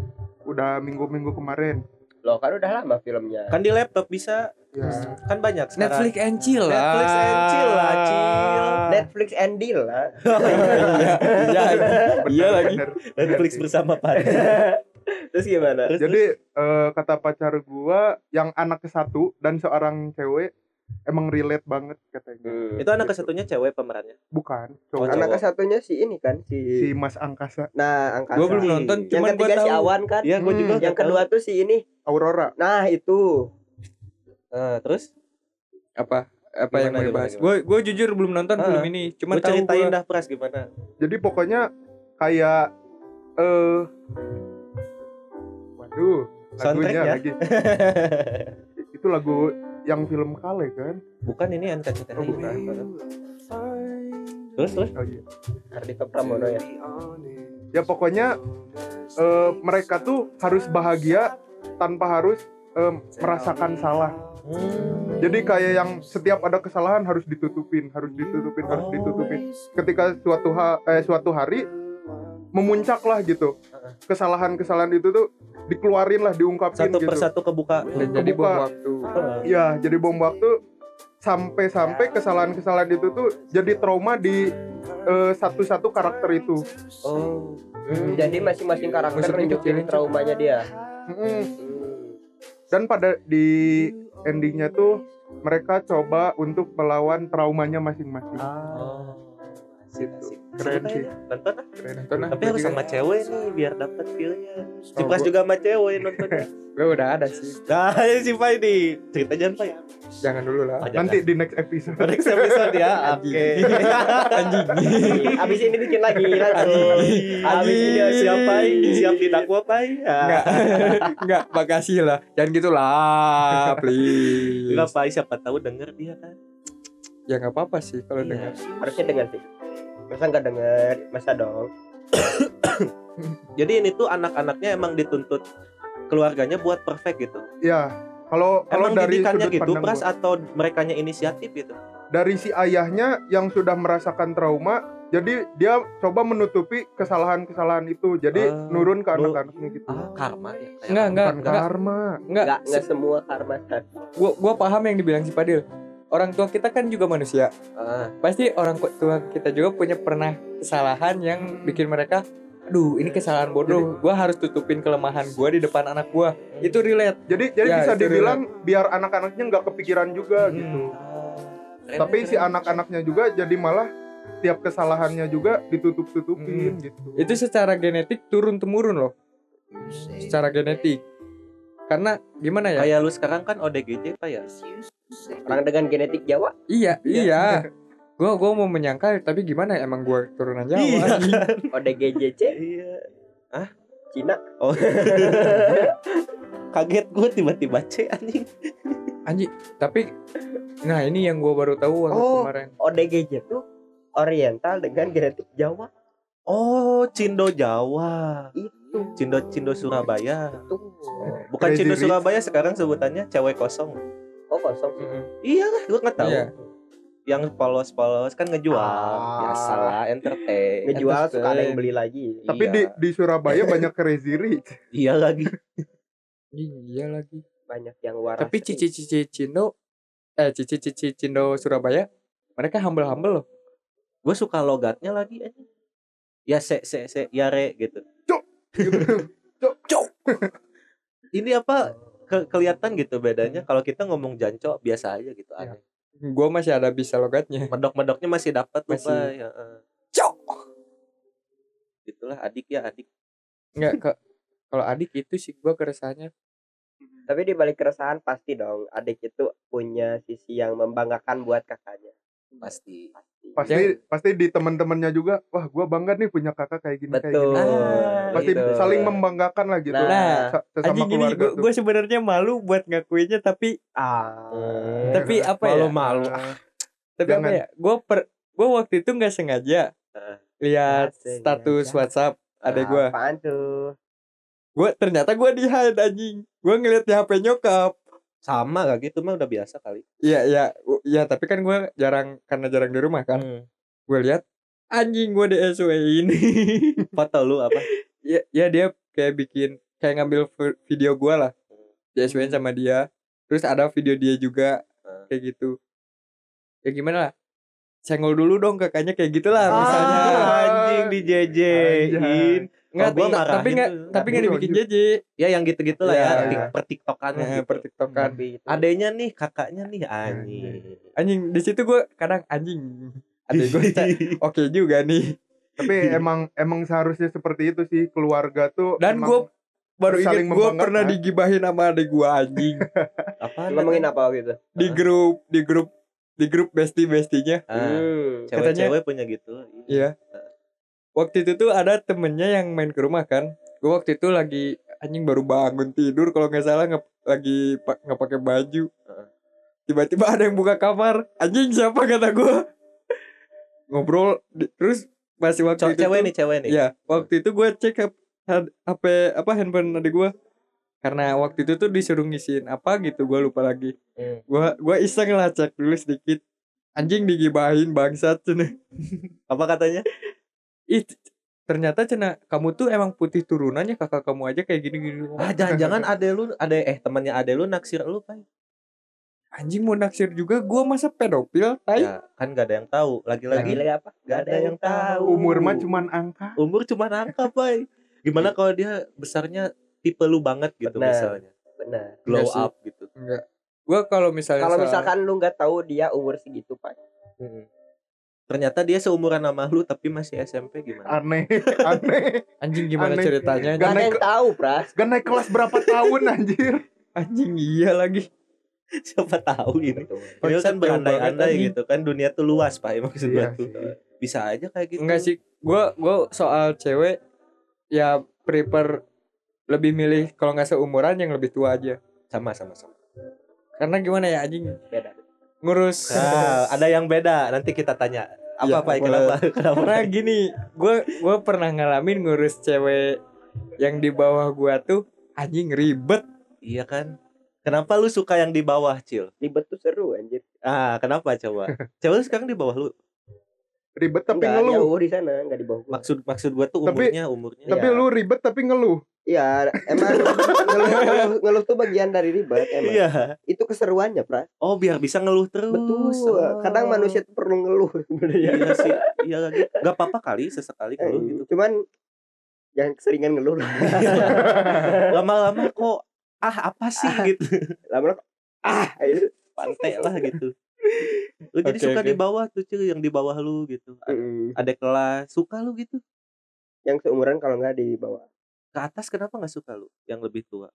[SPEAKER 3] udah minggu-minggu kemarin
[SPEAKER 4] Loh, kan udah lama filmnya.
[SPEAKER 1] Kan di laptop bisa
[SPEAKER 3] ya (laughs)
[SPEAKER 1] kan banyak sekarang.
[SPEAKER 2] Netflix and chill lah.
[SPEAKER 1] Netflix and chill lah, chill.
[SPEAKER 4] Netflix Netflix and deal lah.
[SPEAKER 2] Iya, iya, iya lagi.
[SPEAKER 3] Bener.
[SPEAKER 1] (laughs) Netflix bersama Pak.
[SPEAKER 4] Terus gimana?
[SPEAKER 1] (laughs) Terus,
[SPEAKER 3] Jadi eh, kata pacar gua yang anak ke satu dan seorang cewek emang relate banget katanya.
[SPEAKER 1] terus. itu anak kesatunya cewek pemerannya. Oh,
[SPEAKER 3] Bukan,
[SPEAKER 1] cowok.
[SPEAKER 3] cowok.
[SPEAKER 4] Hmm. Anak satunya si ini kan
[SPEAKER 3] si
[SPEAKER 4] si,
[SPEAKER 3] Mas Angkasa
[SPEAKER 4] Nah, angkasa.
[SPEAKER 2] Gue belum nonton,
[SPEAKER 4] yang
[SPEAKER 2] cuman gue
[SPEAKER 4] ketiga si
[SPEAKER 2] tahu.
[SPEAKER 4] Awan kan.
[SPEAKER 1] Iya, gua
[SPEAKER 3] Hmm,
[SPEAKER 1] juga.
[SPEAKER 4] yang
[SPEAKER 1] nggak
[SPEAKER 4] kedua
[SPEAKER 1] tahu.
[SPEAKER 4] tuh si ini.
[SPEAKER 3] Aurora.
[SPEAKER 4] Nah, itu.
[SPEAKER 1] Eh, terus
[SPEAKER 2] Apa? Apa
[SPEAKER 1] Gimana,
[SPEAKER 2] yang mau
[SPEAKER 1] gimana,
[SPEAKER 2] dibahas?
[SPEAKER 1] gimana?
[SPEAKER 2] Gue gue jujur belum nonton
[SPEAKER 1] Ah,
[SPEAKER 2] film ini, cuman
[SPEAKER 1] gua
[SPEAKER 2] tahu
[SPEAKER 1] ceritain
[SPEAKER 2] gua-
[SPEAKER 1] dah Pras gimana.
[SPEAKER 3] Jadi pokoknya kayak eh waduh, lagunya
[SPEAKER 1] Soundtracknya. (laughs)
[SPEAKER 3] lagi. Itu lagu yang film Kale kan?
[SPEAKER 1] Bukan ini NKCTHI.
[SPEAKER 3] Oh, bukan.
[SPEAKER 1] Terus terus
[SPEAKER 3] Oh, iya.
[SPEAKER 4] Ardika Pramono ya.
[SPEAKER 3] Ya pokoknya eh, mereka tuh harus bahagia tanpa harus eh, merasakan salah.
[SPEAKER 1] Hmm.
[SPEAKER 3] Jadi kayak yang setiap ada kesalahan harus ditutupin, harus ditutupin,
[SPEAKER 1] Oh.
[SPEAKER 3] harus ditutupin. Ketika suatu ha- eh, suatu hari memuncak lah gitu. Kesalahan-kesalahan itu tuh dikeluarin lah, diungkapin
[SPEAKER 1] satu
[SPEAKER 3] gitu.
[SPEAKER 1] persatu kebuka.
[SPEAKER 2] dan jadi bom
[SPEAKER 3] kebuka.
[SPEAKER 2] waktu.
[SPEAKER 1] Heeh.
[SPEAKER 3] Iya, jadi bom waktu sampai-sampai kesalahan-kesalahan itu tuh jadi trauma di eh, satu-satu karakter itu.
[SPEAKER 1] Oh.
[SPEAKER 2] Iya,
[SPEAKER 4] Jadi masing-masing karakter
[SPEAKER 2] Musuh kecil-kecil.
[SPEAKER 4] nunjukin traumanya dia.
[SPEAKER 3] Mm-mm. Dan pada di endingnya tuh mereka coba untuk melawan traumanya masing-masing.
[SPEAKER 1] Oh. Asik, asik.
[SPEAKER 3] Keren
[SPEAKER 1] Seru
[SPEAKER 3] sih.
[SPEAKER 1] kayaknya. Nonton ah.
[SPEAKER 2] Nonton lah.
[SPEAKER 1] Tapi harus sama cewek nih biar dapat feel-nya. Si
[SPEAKER 3] Oh,
[SPEAKER 1] Pras
[SPEAKER 3] gua-
[SPEAKER 1] juga sama cewek nontonnya.
[SPEAKER 2] Gue udah ada sih.
[SPEAKER 1] (laughs) Nah, ini si Pai nih. Cerita jangan Pai.
[SPEAKER 2] Jangan dulu lah.
[SPEAKER 1] Ajak,
[SPEAKER 3] Nanti di next episode.
[SPEAKER 1] ajak. next episode (laughs) ya. Oke.
[SPEAKER 4] Hmm. Abis ini bikin
[SPEAKER 1] (laughs)
[SPEAKER 4] lagi langsung.
[SPEAKER 1] Habis ini siap Pai, siap didakwa Pai.
[SPEAKER 2] Enggak. (laughs)
[SPEAKER 1] Ya.
[SPEAKER 2] Enggak, makasih lah. Jangan gitu lah, please.
[SPEAKER 1] Enggak Pai, siapa tahu denger dia kan.
[SPEAKER 2] Ya enggak apa-apa sih kalau
[SPEAKER 1] Iya.
[SPEAKER 2] dengar.
[SPEAKER 4] Harusnya denger sih. Masa nggak denger? Masa dong.
[SPEAKER 1] Jadi ini tuh anak-anaknya emang dituntut keluarganya buat perfect gitu.
[SPEAKER 3] Ya, kalau kalau
[SPEAKER 1] Emang
[SPEAKER 3] dari
[SPEAKER 1] didikannya
[SPEAKER 3] sudut
[SPEAKER 1] gitu
[SPEAKER 3] pandang
[SPEAKER 1] Pras
[SPEAKER 3] gua.
[SPEAKER 1] atau merekanya inisiatif gitu.
[SPEAKER 3] dari si ayahnya yang sudah merasakan trauma, jadi dia coba menutupi kesalahan-kesalahan itu. Jadi
[SPEAKER 1] Ah,
[SPEAKER 3] nurun ke
[SPEAKER 1] lu-
[SPEAKER 3] anak-anaknya gitu.
[SPEAKER 1] Ah, karma ya. kayak
[SPEAKER 2] Enggak, enggak,
[SPEAKER 3] Bukan
[SPEAKER 2] enggak.
[SPEAKER 3] karma.
[SPEAKER 2] Enggak,
[SPEAKER 4] Nggak nggak semua karma kan.
[SPEAKER 2] gua gua paham yang dibilang si Padil. Orang tua kita kan juga manusia.
[SPEAKER 1] Ah.
[SPEAKER 2] Pasti orang tua kita juga punya pernah kesalahan yang bikin mereka aduh ini kesalahan bodoh gua harus tutupin kelemahan gua di depan anak gua itu relate
[SPEAKER 3] Jadi jadi
[SPEAKER 2] Ya,
[SPEAKER 3] bisa
[SPEAKER 2] itu
[SPEAKER 3] dibilang biar anak-anaknya nggak kepikiran juga
[SPEAKER 2] Hmm.
[SPEAKER 3] gitu.
[SPEAKER 1] Ah, Keren,
[SPEAKER 3] Tapi si
[SPEAKER 1] keren.
[SPEAKER 3] anak-anaknya juga jadi malah tiap kesalahannya juga
[SPEAKER 2] Hmm.
[SPEAKER 3] ditutup-tutupin gitu.
[SPEAKER 2] itu secara genetik turun temurun loh secara genetik karena gimana ya
[SPEAKER 1] kayak lu sekarang kan ODGJ Pak ya.
[SPEAKER 4] Orang dengan genetik Jawa.
[SPEAKER 2] iya iya gua gua mau menyangkal tapi gimana ya, emang gua turunan Jawa
[SPEAKER 1] Iya.
[SPEAKER 4] ODGJC
[SPEAKER 1] Iya.
[SPEAKER 4] Cina.
[SPEAKER 1] Oh. Kaget gue tiba-tiba C anjing.
[SPEAKER 2] anjing tapi nah ini yang gua baru tahu waktu
[SPEAKER 4] Oh.
[SPEAKER 2] kemarin
[SPEAKER 4] ODGJ tuh Oriental dengan genetik Jawa
[SPEAKER 1] Oh, Cindo Jawa.
[SPEAKER 4] itu
[SPEAKER 1] Cindo Cindo Surabaya.
[SPEAKER 4] tuh.
[SPEAKER 1] Bukan
[SPEAKER 3] Crazy
[SPEAKER 1] Cindo
[SPEAKER 3] Rich.
[SPEAKER 1] Surabaya sekarang sebutannya cewek kosong.
[SPEAKER 4] Oh kosong.
[SPEAKER 2] Mm-mm.
[SPEAKER 1] Iya lah, gue nggak tahu.
[SPEAKER 2] Iya.
[SPEAKER 1] Yang polos-polos kan ngejual.
[SPEAKER 3] Ah.
[SPEAKER 1] Biasalah, entertain.
[SPEAKER 4] Ngejual
[SPEAKER 2] Entertain.
[SPEAKER 4] suka ada yang beli lagi.
[SPEAKER 3] Tapi
[SPEAKER 1] iya.
[SPEAKER 3] di di Surabaya banyak crazy rich.
[SPEAKER 1] Iya lagi.
[SPEAKER 2] iya lagi
[SPEAKER 4] Banyak yang waras.
[SPEAKER 2] tapi cici-cici Cindo eh cici-cici Cindo Surabaya mereka humble-humble loh
[SPEAKER 1] Gue suka logatnya lagi anjing. Ya se se se ya re gitu.
[SPEAKER 3] Gitu.
[SPEAKER 1] Ini apa ke- kelihatan gitu
[SPEAKER 4] Hmm.
[SPEAKER 1] bedanya kalau kita ngomong jancok biasa aja gitu
[SPEAKER 4] Iya.
[SPEAKER 1] aneh.
[SPEAKER 2] gua masih ada bisa logatnya
[SPEAKER 1] Medok-medoknya masih dapat tuh
[SPEAKER 2] Masih.
[SPEAKER 1] Pak. Ya, eh.
[SPEAKER 2] Cok!
[SPEAKER 1] Itulah adik ya adik.
[SPEAKER 2] nggak ke kalau adik itu sih gua keresahannya
[SPEAKER 4] Tapi di balik keresahan pasti dong adik itu punya sisi yang membanggakan buat kakaknya.
[SPEAKER 1] pasti
[SPEAKER 3] Pasti pasti di teman-temannya juga, wah gua bangga nih punya kakak kayak gini kayak
[SPEAKER 4] Betul.
[SPEAKER 3] gini.
[SPEAKER 1] Ah,
[SPEAKER 3] gitu. Pasti
[SPEAKER 4] Betul.
[SPEAKER 3] saling membanggakan lah gitu.
[SPEAKER 4] Nah.
[SPEAKER 3] Sa- Sesama
[SPEAKER 2] anjing gini
[SPEAKER 3] keluarga
[SPEAKER 2] gua,
[SPEAKER 3] tuh.
[SPEAKER 2] gua sebenarnya malu buat ngakuinnya tapi
[SPEAKER 4] Ah.
[SPEAKER 2] tapi apa ya
[SPEAKER 1] malu malu
[SPEAKER 2] tapi apa
[SPEAKER 3] Jangan.
[SPEAKER 2] ya gue per gue waktu itu nggak sengaja
[SPEAKER 1] Heeh.
[SPEAKER 2] lihat
[SPEAKER 4] Nggak
[SPEAKER 2] status
[SPEAKER 4] sengaja.
[SPEAKER 2] WhatsApp ada gue
[SPEAKER 4] Apaan tuh?
[SPEAKER 2] gue ternyata gue di hide anjing gue ngeliat di HP nyokap
[SPEAKER 1] sama gak gitu mah udah biasa kali
[SPEAKER 2] Iya iya u- iya tapi kan gue jarang karena jarang di rumah kan
[SPEAKER 1] Hmm.
[SPEAKER 2] gue lihat anjing gue di SW ini (laughs)
[SPEAKER 1] foto lu apa
[SPEAKER 2] ya, ya dia kayak bikin kayak ngambil vi- video gue lah di SW sama dia terus ada video dia juga
[SPEAKER 1] Hmm.
[SPEAKER 2] kayak gitu ya gimana lah senggol dulu dong kakaknya kayak gitulah
[SPEAKER 3] Ah.
[SPEAKER 2] misalnya
[SPEAKER 1] anjing dijejein.
[SPEAKER 2] nggak
[SPEAKER 1] Kalau gua
[SPEAKER 2] ta-
[SPEAKER 1] marahin
[SPEAKER 2] tapi nggak
[SPEAKER 1] tuh.
[SPEAKER 2] tapi nggak
[SPEAKER 3] Nggak
[SPEAKER 2] dibikin
[SPEAKER 3] gitu.
[SPEAKER 2] jeje
[SPEAKER 1] Ya yang gitu-gitu lah ya,
[SPEAKER 2] Iya.
[SPEAKER 1] tik- pertiktokan lah
[SPEAKER 2] nah,
[SPEAKER 1] gitu.
[SPEAKER 3] Hmm. kan.
[SPEAKER 2] pertiktokan
[SPEAKER 4] Tapi gitu.
[SPEAKER 1] Adenya nih, kakaknya nih, anjing.
[SPEAKER 2] anjing di situ gue kadang anjing ada gue
[SPEAKER 1] (laughs)
[SPEAKER 2] oke juga nih
[SPEAKER 3] tapi emang emang seharusnya seperti itu sih keluarga tuh
[SPEAKER 2] dan gue
[SPEAKER 3] emang
[SPEAKER 2] baru
[SPEAKER 3] saling
[SPEAKER 2] inget gue
[SPEAKER 3] membanggakan.
[SPEAKER 1] kan?
[SPEAKER 2] pernah digibahin sama adik gue anjing
[SPEAKER 1] apa
[SPEAKER 4] ngomongin apa gitu
[SPEAKER 2] di grup di grup di grup bestie bestinya
[SPEAKER 1] Iya.
[SPEAKER 4] Hmm.
[SPEAKER 1] Ah, cewek-cewek punya gitu
[SPEAKER 2] Iya. waktu itu tuh ada temennya yang main ke rumah kan gue waktu itu lagi anjing baru bangun tidur kalau nggak salah nggak lagi pa- nggak pakai baju
[SPEAKER 1] Heeh.
[SPEAKER 2] tiba-tiba ada yang buka kamar anjing siapa kata gue
[SPEAKER 1] (laughs)
[SPEAKER 2] ngobrol di- terus masih waktu
[SPEAKER 1] Cowok
[SPEAKER 2] itu
[SPEAKER 1] cewek
[SPEAKER 2] tuh-
[SPEAKER 1] nih cewek nih
[SPEAKER 2] Iya, waktu itu gue cek hap- had- HP apa handphone adik gue karena waktu itu tuh disuruh ngisiin apa gitu gue lupa lagi.
[SPEAKER 1] Hmm.
[SPEAKER 2] Gue gua iseng lah cek dulu sedikit. Anjing digibahin bangsat cenah.
[SPEAKER 1] apa katanya
[SPEAKER 2] Ih, c- ternyata cenah kamu tuh emang putih turunannya kakak kamu aja kayak gini-gini.
[SPEAKER 1] ah jangan-jangan ade lu ade eh temannya ade lu naksir lu pai
[SPEAKER 2] Anjing mau naksir juga gue masa pedofil tai.
[SPEAKER 1] ya kan gak ada yang tahu lagi-lagi
[SPEAKER 4] lagi-lagi apa
[SPEAKER 1] gak ada yang tahu
[SPEAKER 3] umur mah cuman angka
[SPEAKER 1] umur cuma angka pai gimana kalau dia besarnya tipe lu banget gitu
[SPEAKER 4] Benar.
[SPEAKER 1] misalnya
[SPEAKER 4] benar
[SPEAKER 1] glow
[SPEAKER 2] Iya sih.
[SPEAKER 1] up gitu
[SPEAKER 2] Enggak. Gue kalau misalnya
[SPEAKER 4] kalau
[SPEAKER 2] salah-
[SPEAKER 4] misalkan lu nggak tahu dia umur segitu pak
[SPEAKER 1] ternyata dia seumuran sama lu tapi masih SMP gimana
[SPEAKER 3] aneh (laughs) aneh
[SPEAKER 2] anjing gimana
[SPEAKER 3] Aneh.
[SPEAKER 2] ceritanya?
[SPEAKER 4] nggak
[SPEAKER 2] anjing?
[SPEAKER 3] Gak
[SPEAKER 4] ada
[SPEAKER 3] naik
[SPEAKER 4] yang
[SPEAKER 3] ke-
[SPEAKER 4] tahu pras
[SPEAKER 3] gak naik kelas berapa tahun anjir
[SPEAKER 2] Anjing iya lagi.
[SPEAKER 1] (laughs) siapa tahu ini
[SPEAKER 4] Betul.
[SPEAKER 1] ini
[SPEAKER 2] Bangsat,
[SPEAKER 1] kan
[SPEAKER 2] jauh banget, anjing.
[SPEAKER 1] berandai-andai gitu kan dunia tuh luas pak maksud gua
[SPEAKER 3] iya
[SPEAKER 1] tuh
[SPEAKER 3] sih.
[SPEAKER 1] bisa aja kayak gitu
[SPEAKER 2] Enggak sih, gua gua soal cewek ya prefer lebih milih kalau nggak seumuran yang lebih tua aja.
[SPEAKER 1] sama sama sama
[SPEAKER 2] Karena gimana ya anjing
[SPEAKER 4] beda
[SPEAKER 2] ngurus
[SPEAKER 1] (laughs) Nah, ada yang beda. Nanti kita tanya apa
[SPEAKER 2] Iya,
[SPEAKER 1] apa (laughs)
[SPEAKER 2] apa?
[SPEAKER 1] kenapa kenapa
[SPEAKER 2] karena gini, gua gua pernah ngalamin ngurus cewek yang di bawah gua tuh anjing ribet.
[SPEAKER 1] Iya kan? Kenapa lu suka yang di bawah, Cil?
[SPEAKER 4] ribet tuh seru anjir
[SPEAKER 1] Ah, kenapa coba? Coba lu sekarang di bawah lu.
[SPEAKER 3] ribet tapi
[SPEAKER 4] Nggak,
[SPEAKER 3] ngeluh
[SPEAKER 4] jauh di sana nggak di bawah gua.
[SPEAKER 1] Maksud maksud gua tuh
[SPEAKER 3] Tapi-
[SPEAKER 1] umurnya, umurnya.
[SPEAKER 3] tapi
[SPEAKER 4] Iya.
[SPEAKER 3] lu ribet tapi ngeluh
[SPEAKER 4] Iya, emang ngeluh, ngeluh, ngeluh tuh bagian dari ribet emang.
[SPEAKER 1] Iya.
[SPEAKER 4] Itu keseruannya, Pras.
[SPEAKER 1] Oh, biar bisa ngeluh terus.
[SPEAKER 4] Betul.
[SPEAKER 1] Oh.
[SPEAKER 4] Kadang manusia tuh perlu ngeluh (laughs) sebenarnya.
[SPEAKER 1] Iya sih. Iya lagi. Gak apa-apa kali sesekali
[SPEAKER 4] Eh,
[SPEAKER 1] ngeluh gitu. (laughs)
[SPEAKER 4] Cuman jangan keseringan ngeluh lah.
[SPEAKER 1] Lama-lama kok ah apa sih gitu.
[SPEAKER 4] Lama-lama ah gitu.
[SPEAKER 1] Pantai lah gitu. Lu jadi
[SPEAKER 2] Oke,
[SPEAKER 1] suka
[SPEAKER 2] oke.
[SPEAKER 1] di bawah tuh, Cil, yang di bawah lu gitu.
[SPEAKER 4] Mm-mm.
[SPEAKER 1] Ada kelas, suka lu gitu.
[SPEAKER 4] yang seumuran kalau nggak di bawah
[SPEAKER 1] Ke atas kenapa nggak suka lu? Yang lebih tua.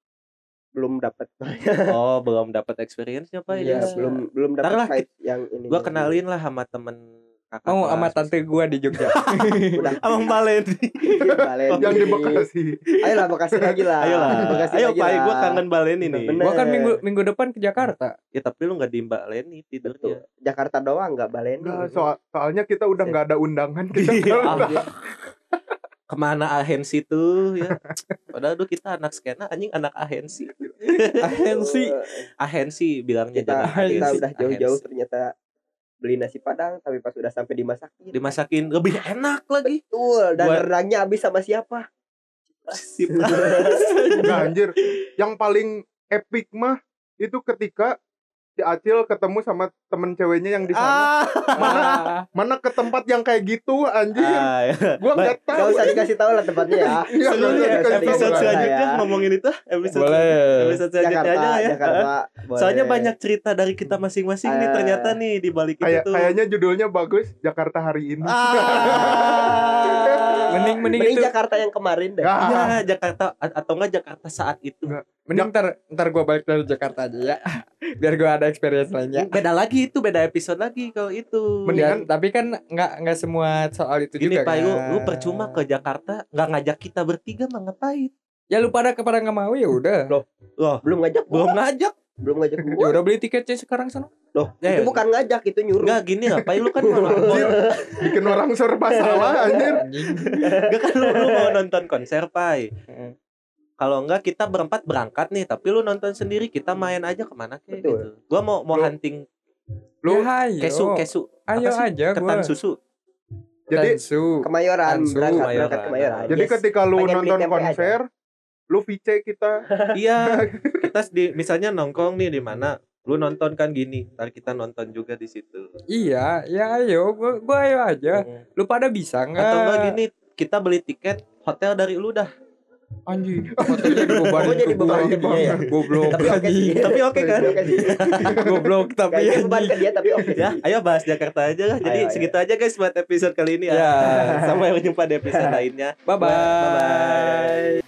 [SPEAKER 4] belum dapat (laughs)
[SPEAKER 1] Oh, belum dapat experience-nya, Pak. ya?
[SPEAKER 2] Iya,
[SPEAKER 1] dia.
[SPEAKER 4] belum belum
[SPEAKER 1] Ntar lah,
[SPEAKER 4] dapat vibe yang ini
[SPEAKER 1] Gua kenalin lah sama temen kakak.
[SPEAKER 2] Mau sama
[SPEAKER 1] amat
[SPEAKER 2] tante gua di Jogja.
[SPEAKER 4] udah
[SPEAKER 1] (laughs)
[SPEAKER 4] (laughs)
[SPEAKER 1] Abang Balen.
[SPEAKER 4] balen
[SPEAKER 3] yang di Bekasi
[SPEAKER 4] ayolah bekasi lagi lah
[SPEAKER 1] Ayolah.
[SPEAKER 4] Bekasi
[SPEAKER 1] Ayo,
[SPEAKER 4] lagi
[SPEAKER 1] Pak,
[SPEAKER 4] Ah,
[SPEAKER 1] ya,
[SPEAKER 4] lah.
[SPEAKER 1] gua kangen Balen ini.
[SPEAKER 4] Bener.
[SPEAKER 2] gua kan minggu minggu depan ke Jakarta.
[SPEAKER 1] Ya, tapi lu nggak di Mbak Leni tidurnya.
[SPEAKER 4] Betul. Jakarta doang nggak Iya. balen
[SPEAKER 3] Nggak, Nah, soal- soalnya kita udah
[SPEAKER 4] Iya.
[SPEAKER 3] nggak ada undangan kita
[SPEAKER 1] Ah,
[SPEAKER 3] kalau-
[SPEAKER 1] dia. (laughs) Kemana ahensi tuh ya? Padahal dulu kita anak skena anjing anak ahensi.
[SPEAKER 2] Ahensi.
[SPEAKER 1] Ahensi bilangnya
[SPEAKER 4] kita
[SPEAKER 1] jangan
[SPEAKER 2] Ahensi.
[SPEAKER 4] kita
[SPEAKER 1] ahensi,
[SPEAKER 4] udah jauh-jauh
[SPEAKER 1] ahensi.
[SPEAKER 4] ternyata beli nasi padang tapi pas udah sampai dimasakin
[SPEAKER 1] Dimasakin lebih enak lagi.
[SPEAKER 4] betul dan
[SPEAKER 1] Buat-
[SPEAKER 4] rendangnya habis sama siapa (laughs)
[SPEAKER 1] Sip.
[SPEAKER 3] Nggak, anjir yang paling epic mah itu ketika si Acil ketemu sama temen ceweknya yang di
[SPEAKER 1] Ah,
[SPEAKER 3] sana
[SPEAKER 2] Ah.
[SPEAKER 3] mana ke tempat yang kayak gitu anjir
[SPEAKER 1] ah, ya.
[SPEAKER 3] gua nggak
[SPEAKER 4] nggak
[SPEAKER 3] tahu
[SPEAKER 4] usah dikasih tahu lah tempatnya ya
[SPEAKER 3] Iya,
[SPEAKER 1] Seru ya,
[SPEAKER 3] nggak usah
[SPEAKER 4] Nggak usah
[SPEAKER 3] dikasih
[SPEAKER 1] episode
[SPEAKER 3] tahu.
[SPEAKER 4] Boleh.
[SPEAKER 1] selanjutnya ngomongin itu episode
[SPEAKER 2] Boleh.
[SPEAKER 1] episode selanjutnya
[SPEAKER 4] Jakarta
[SPEAKER 1] aja lah ya.
[SPEAKER 4] Jakarta boleh.
[SPEAKER 1] Soalnya banyak cerita dari kita masing-masing nih
[SPEAKER 4] Eh.
[SPEAKER 1] ternyata nih di balik itu
[SPEAKER 3] Kayak,
[SPEAKER 4] gitu.
[SPEAKER 1] tuh.
[SPEAKER 3] kayaknya judulnya bagus Jakarta hari ini
[SPEAKER 4] (laughs)
[SPEAKER 1] Ah.
[SPEAKER 2] Mending mending
[SPEAKER 4] mending
[SPEAKER 2] itu
[SPEAKER 4] Jakarta yang kemarin deh
[SPEAKER 3] (laughs) Nggak.
[SPEAKER 1] Ya, Jakarta a- atau enggak Jakarta saat itu.
[SPEAKER 3] Nggak.
[SPEAKER 2] mending ntar ntar gua balik dari Jakarta aja ya. Biar gua ada experience lainnya.
[SPEAKER 1] Beda lagi itu, beda episode lagi kalau itu.
[SPEAKER 3] Mending-
[SPEAKER 2] Ya,
[SPEAKER 3] Mendingan-
[SPEAKER 2] tapi kan nggak nggak semua soal itu
[SPEAKER 1] Gini
[SPEAKER 2] juga
[SPEAKER 1] Pak,
[SPEAKER 2] kan.
[SPEAKER 1] lu, lu percuma ke Jakarta nggak ngajak kita bertiga mah ngapain?
[SPEAKER 2] Ya lu pada kepada nggak mau ya udah.
[SPEAKER 4] Loh. belum ngajak gua
[SPEAKER 1] Belum ngajak.
[SPEAKER 4] belum ngajak
[SPEAKER 2] Ya
[SPEAKER 4] gua
[SPEAKER 2] udah beli tiketnya sekarang sana.
[SPEAKER 4] loh
[SPEAKER 1] Eh.
[SPEAKER 4] itu bukan ngajak itu nyuruh
[SPEAKER 1] Enggak gini lah, Pak, lu kan mau nonton.
[SPEAKER 3] Anjir, bikin orang serba salah anjir
[SPEAKER 2] Anjing.
[SPEAKER 1] Enggak kan lu, lu mau nonton konser, Pak.
[SPEAKER 2] Heeh.
[SPEAKER 1] Kalau enggak kita berempat berangkat nih, tapi lu nonton sendiri, kita main aja kemana kayak
[SPEAKER 4] Betul.
[SPEAKER 1] gitu. Gua mau mau
[SPEAKER 3] Lu-
[SPEAKER 1] hunting
[SPEAKER 2] Lu
[SPEAKER 3] Lu-
[SPEAKER 2] ayo.
[SPEAKER 1] Ya, kesu kesu
[SPEAKER 2] Ayo
[SPEAKER 1] apa sih?
[SPEAKER 2] aja
[SPEAKER 1] ketan
[SPEAKER 2] Eh, gua.
[SPEAKER 1] susu.
[SPEAKER 3] Jadi-
[SPEAKER 2] Tensu.
[SPEAKER 4] kemayoran
[SPEAKER 2] Tansu,
[SPEAKER 4] berangkat berangkat
[SPEAKER 1] Kemayoran.
[SPEAKER 4] kemayoran
[SPEAKER 3] Jadi
[SPEAKER 4] Yes.
[SPEAKER 3] ketika lu
[SPEAKER 4] Bagian beli
[SPEAKER 3] nonton
[SPEAKER 4] tempe aja.
[SPEAKER 3] konser, lu VC kita.
[SPEAKER 1] Iya, kita di misalnya nongkrong nih di mana? Lu nonton kan gini, ntar kita nonton juga di situ.
[SPEAKER 2] Iya, ya ayo, gua gua ayo aja.
[SPEAKER 1] Mm.
[SPEAKER 2] Lu pada bisa nggak?
[SPEAKER 1] Atau enggak gini, kita beli tiket hotel dari lu dah.
[SPEAKER 2] (laughs) Anjing, fotonya dibebanin
[SPEAKER 4] Kamu jadi
[SPEAKER 2] ke gua.
[SPEAKER 4] beban ke dia ya?
[SPEAKER 2] Goblok
[SPEAKER 4] Tapi oke sih.
[SPEAKER 2] anjing.
[SPEAKER 1] Tapi oke kan?
[SPEAKER 4] Oke sih.
[SPEAKER 2] Goblok tapi iya.
[SPEAKER 4] Kayaknya
[SPEAKER 2] anjing.
[SPEAKER 4] beban ke dia tapi oke.
[SPEAKER 1] (laughs) ya, ayo bahas Jakarta aja lah. Jadi
[SPEAKER 4] Ayo, ayo.
[SPEAKER 1] segitu aja (laughs) guys buat episode kali ini ya.
[SPEAKER 2] Ya.
[SPEAKER 1] Sampai jumpa di episode lainnya.
[SPEAKER 2] Bye bye.
[SPEAKER 1] Bye-bye.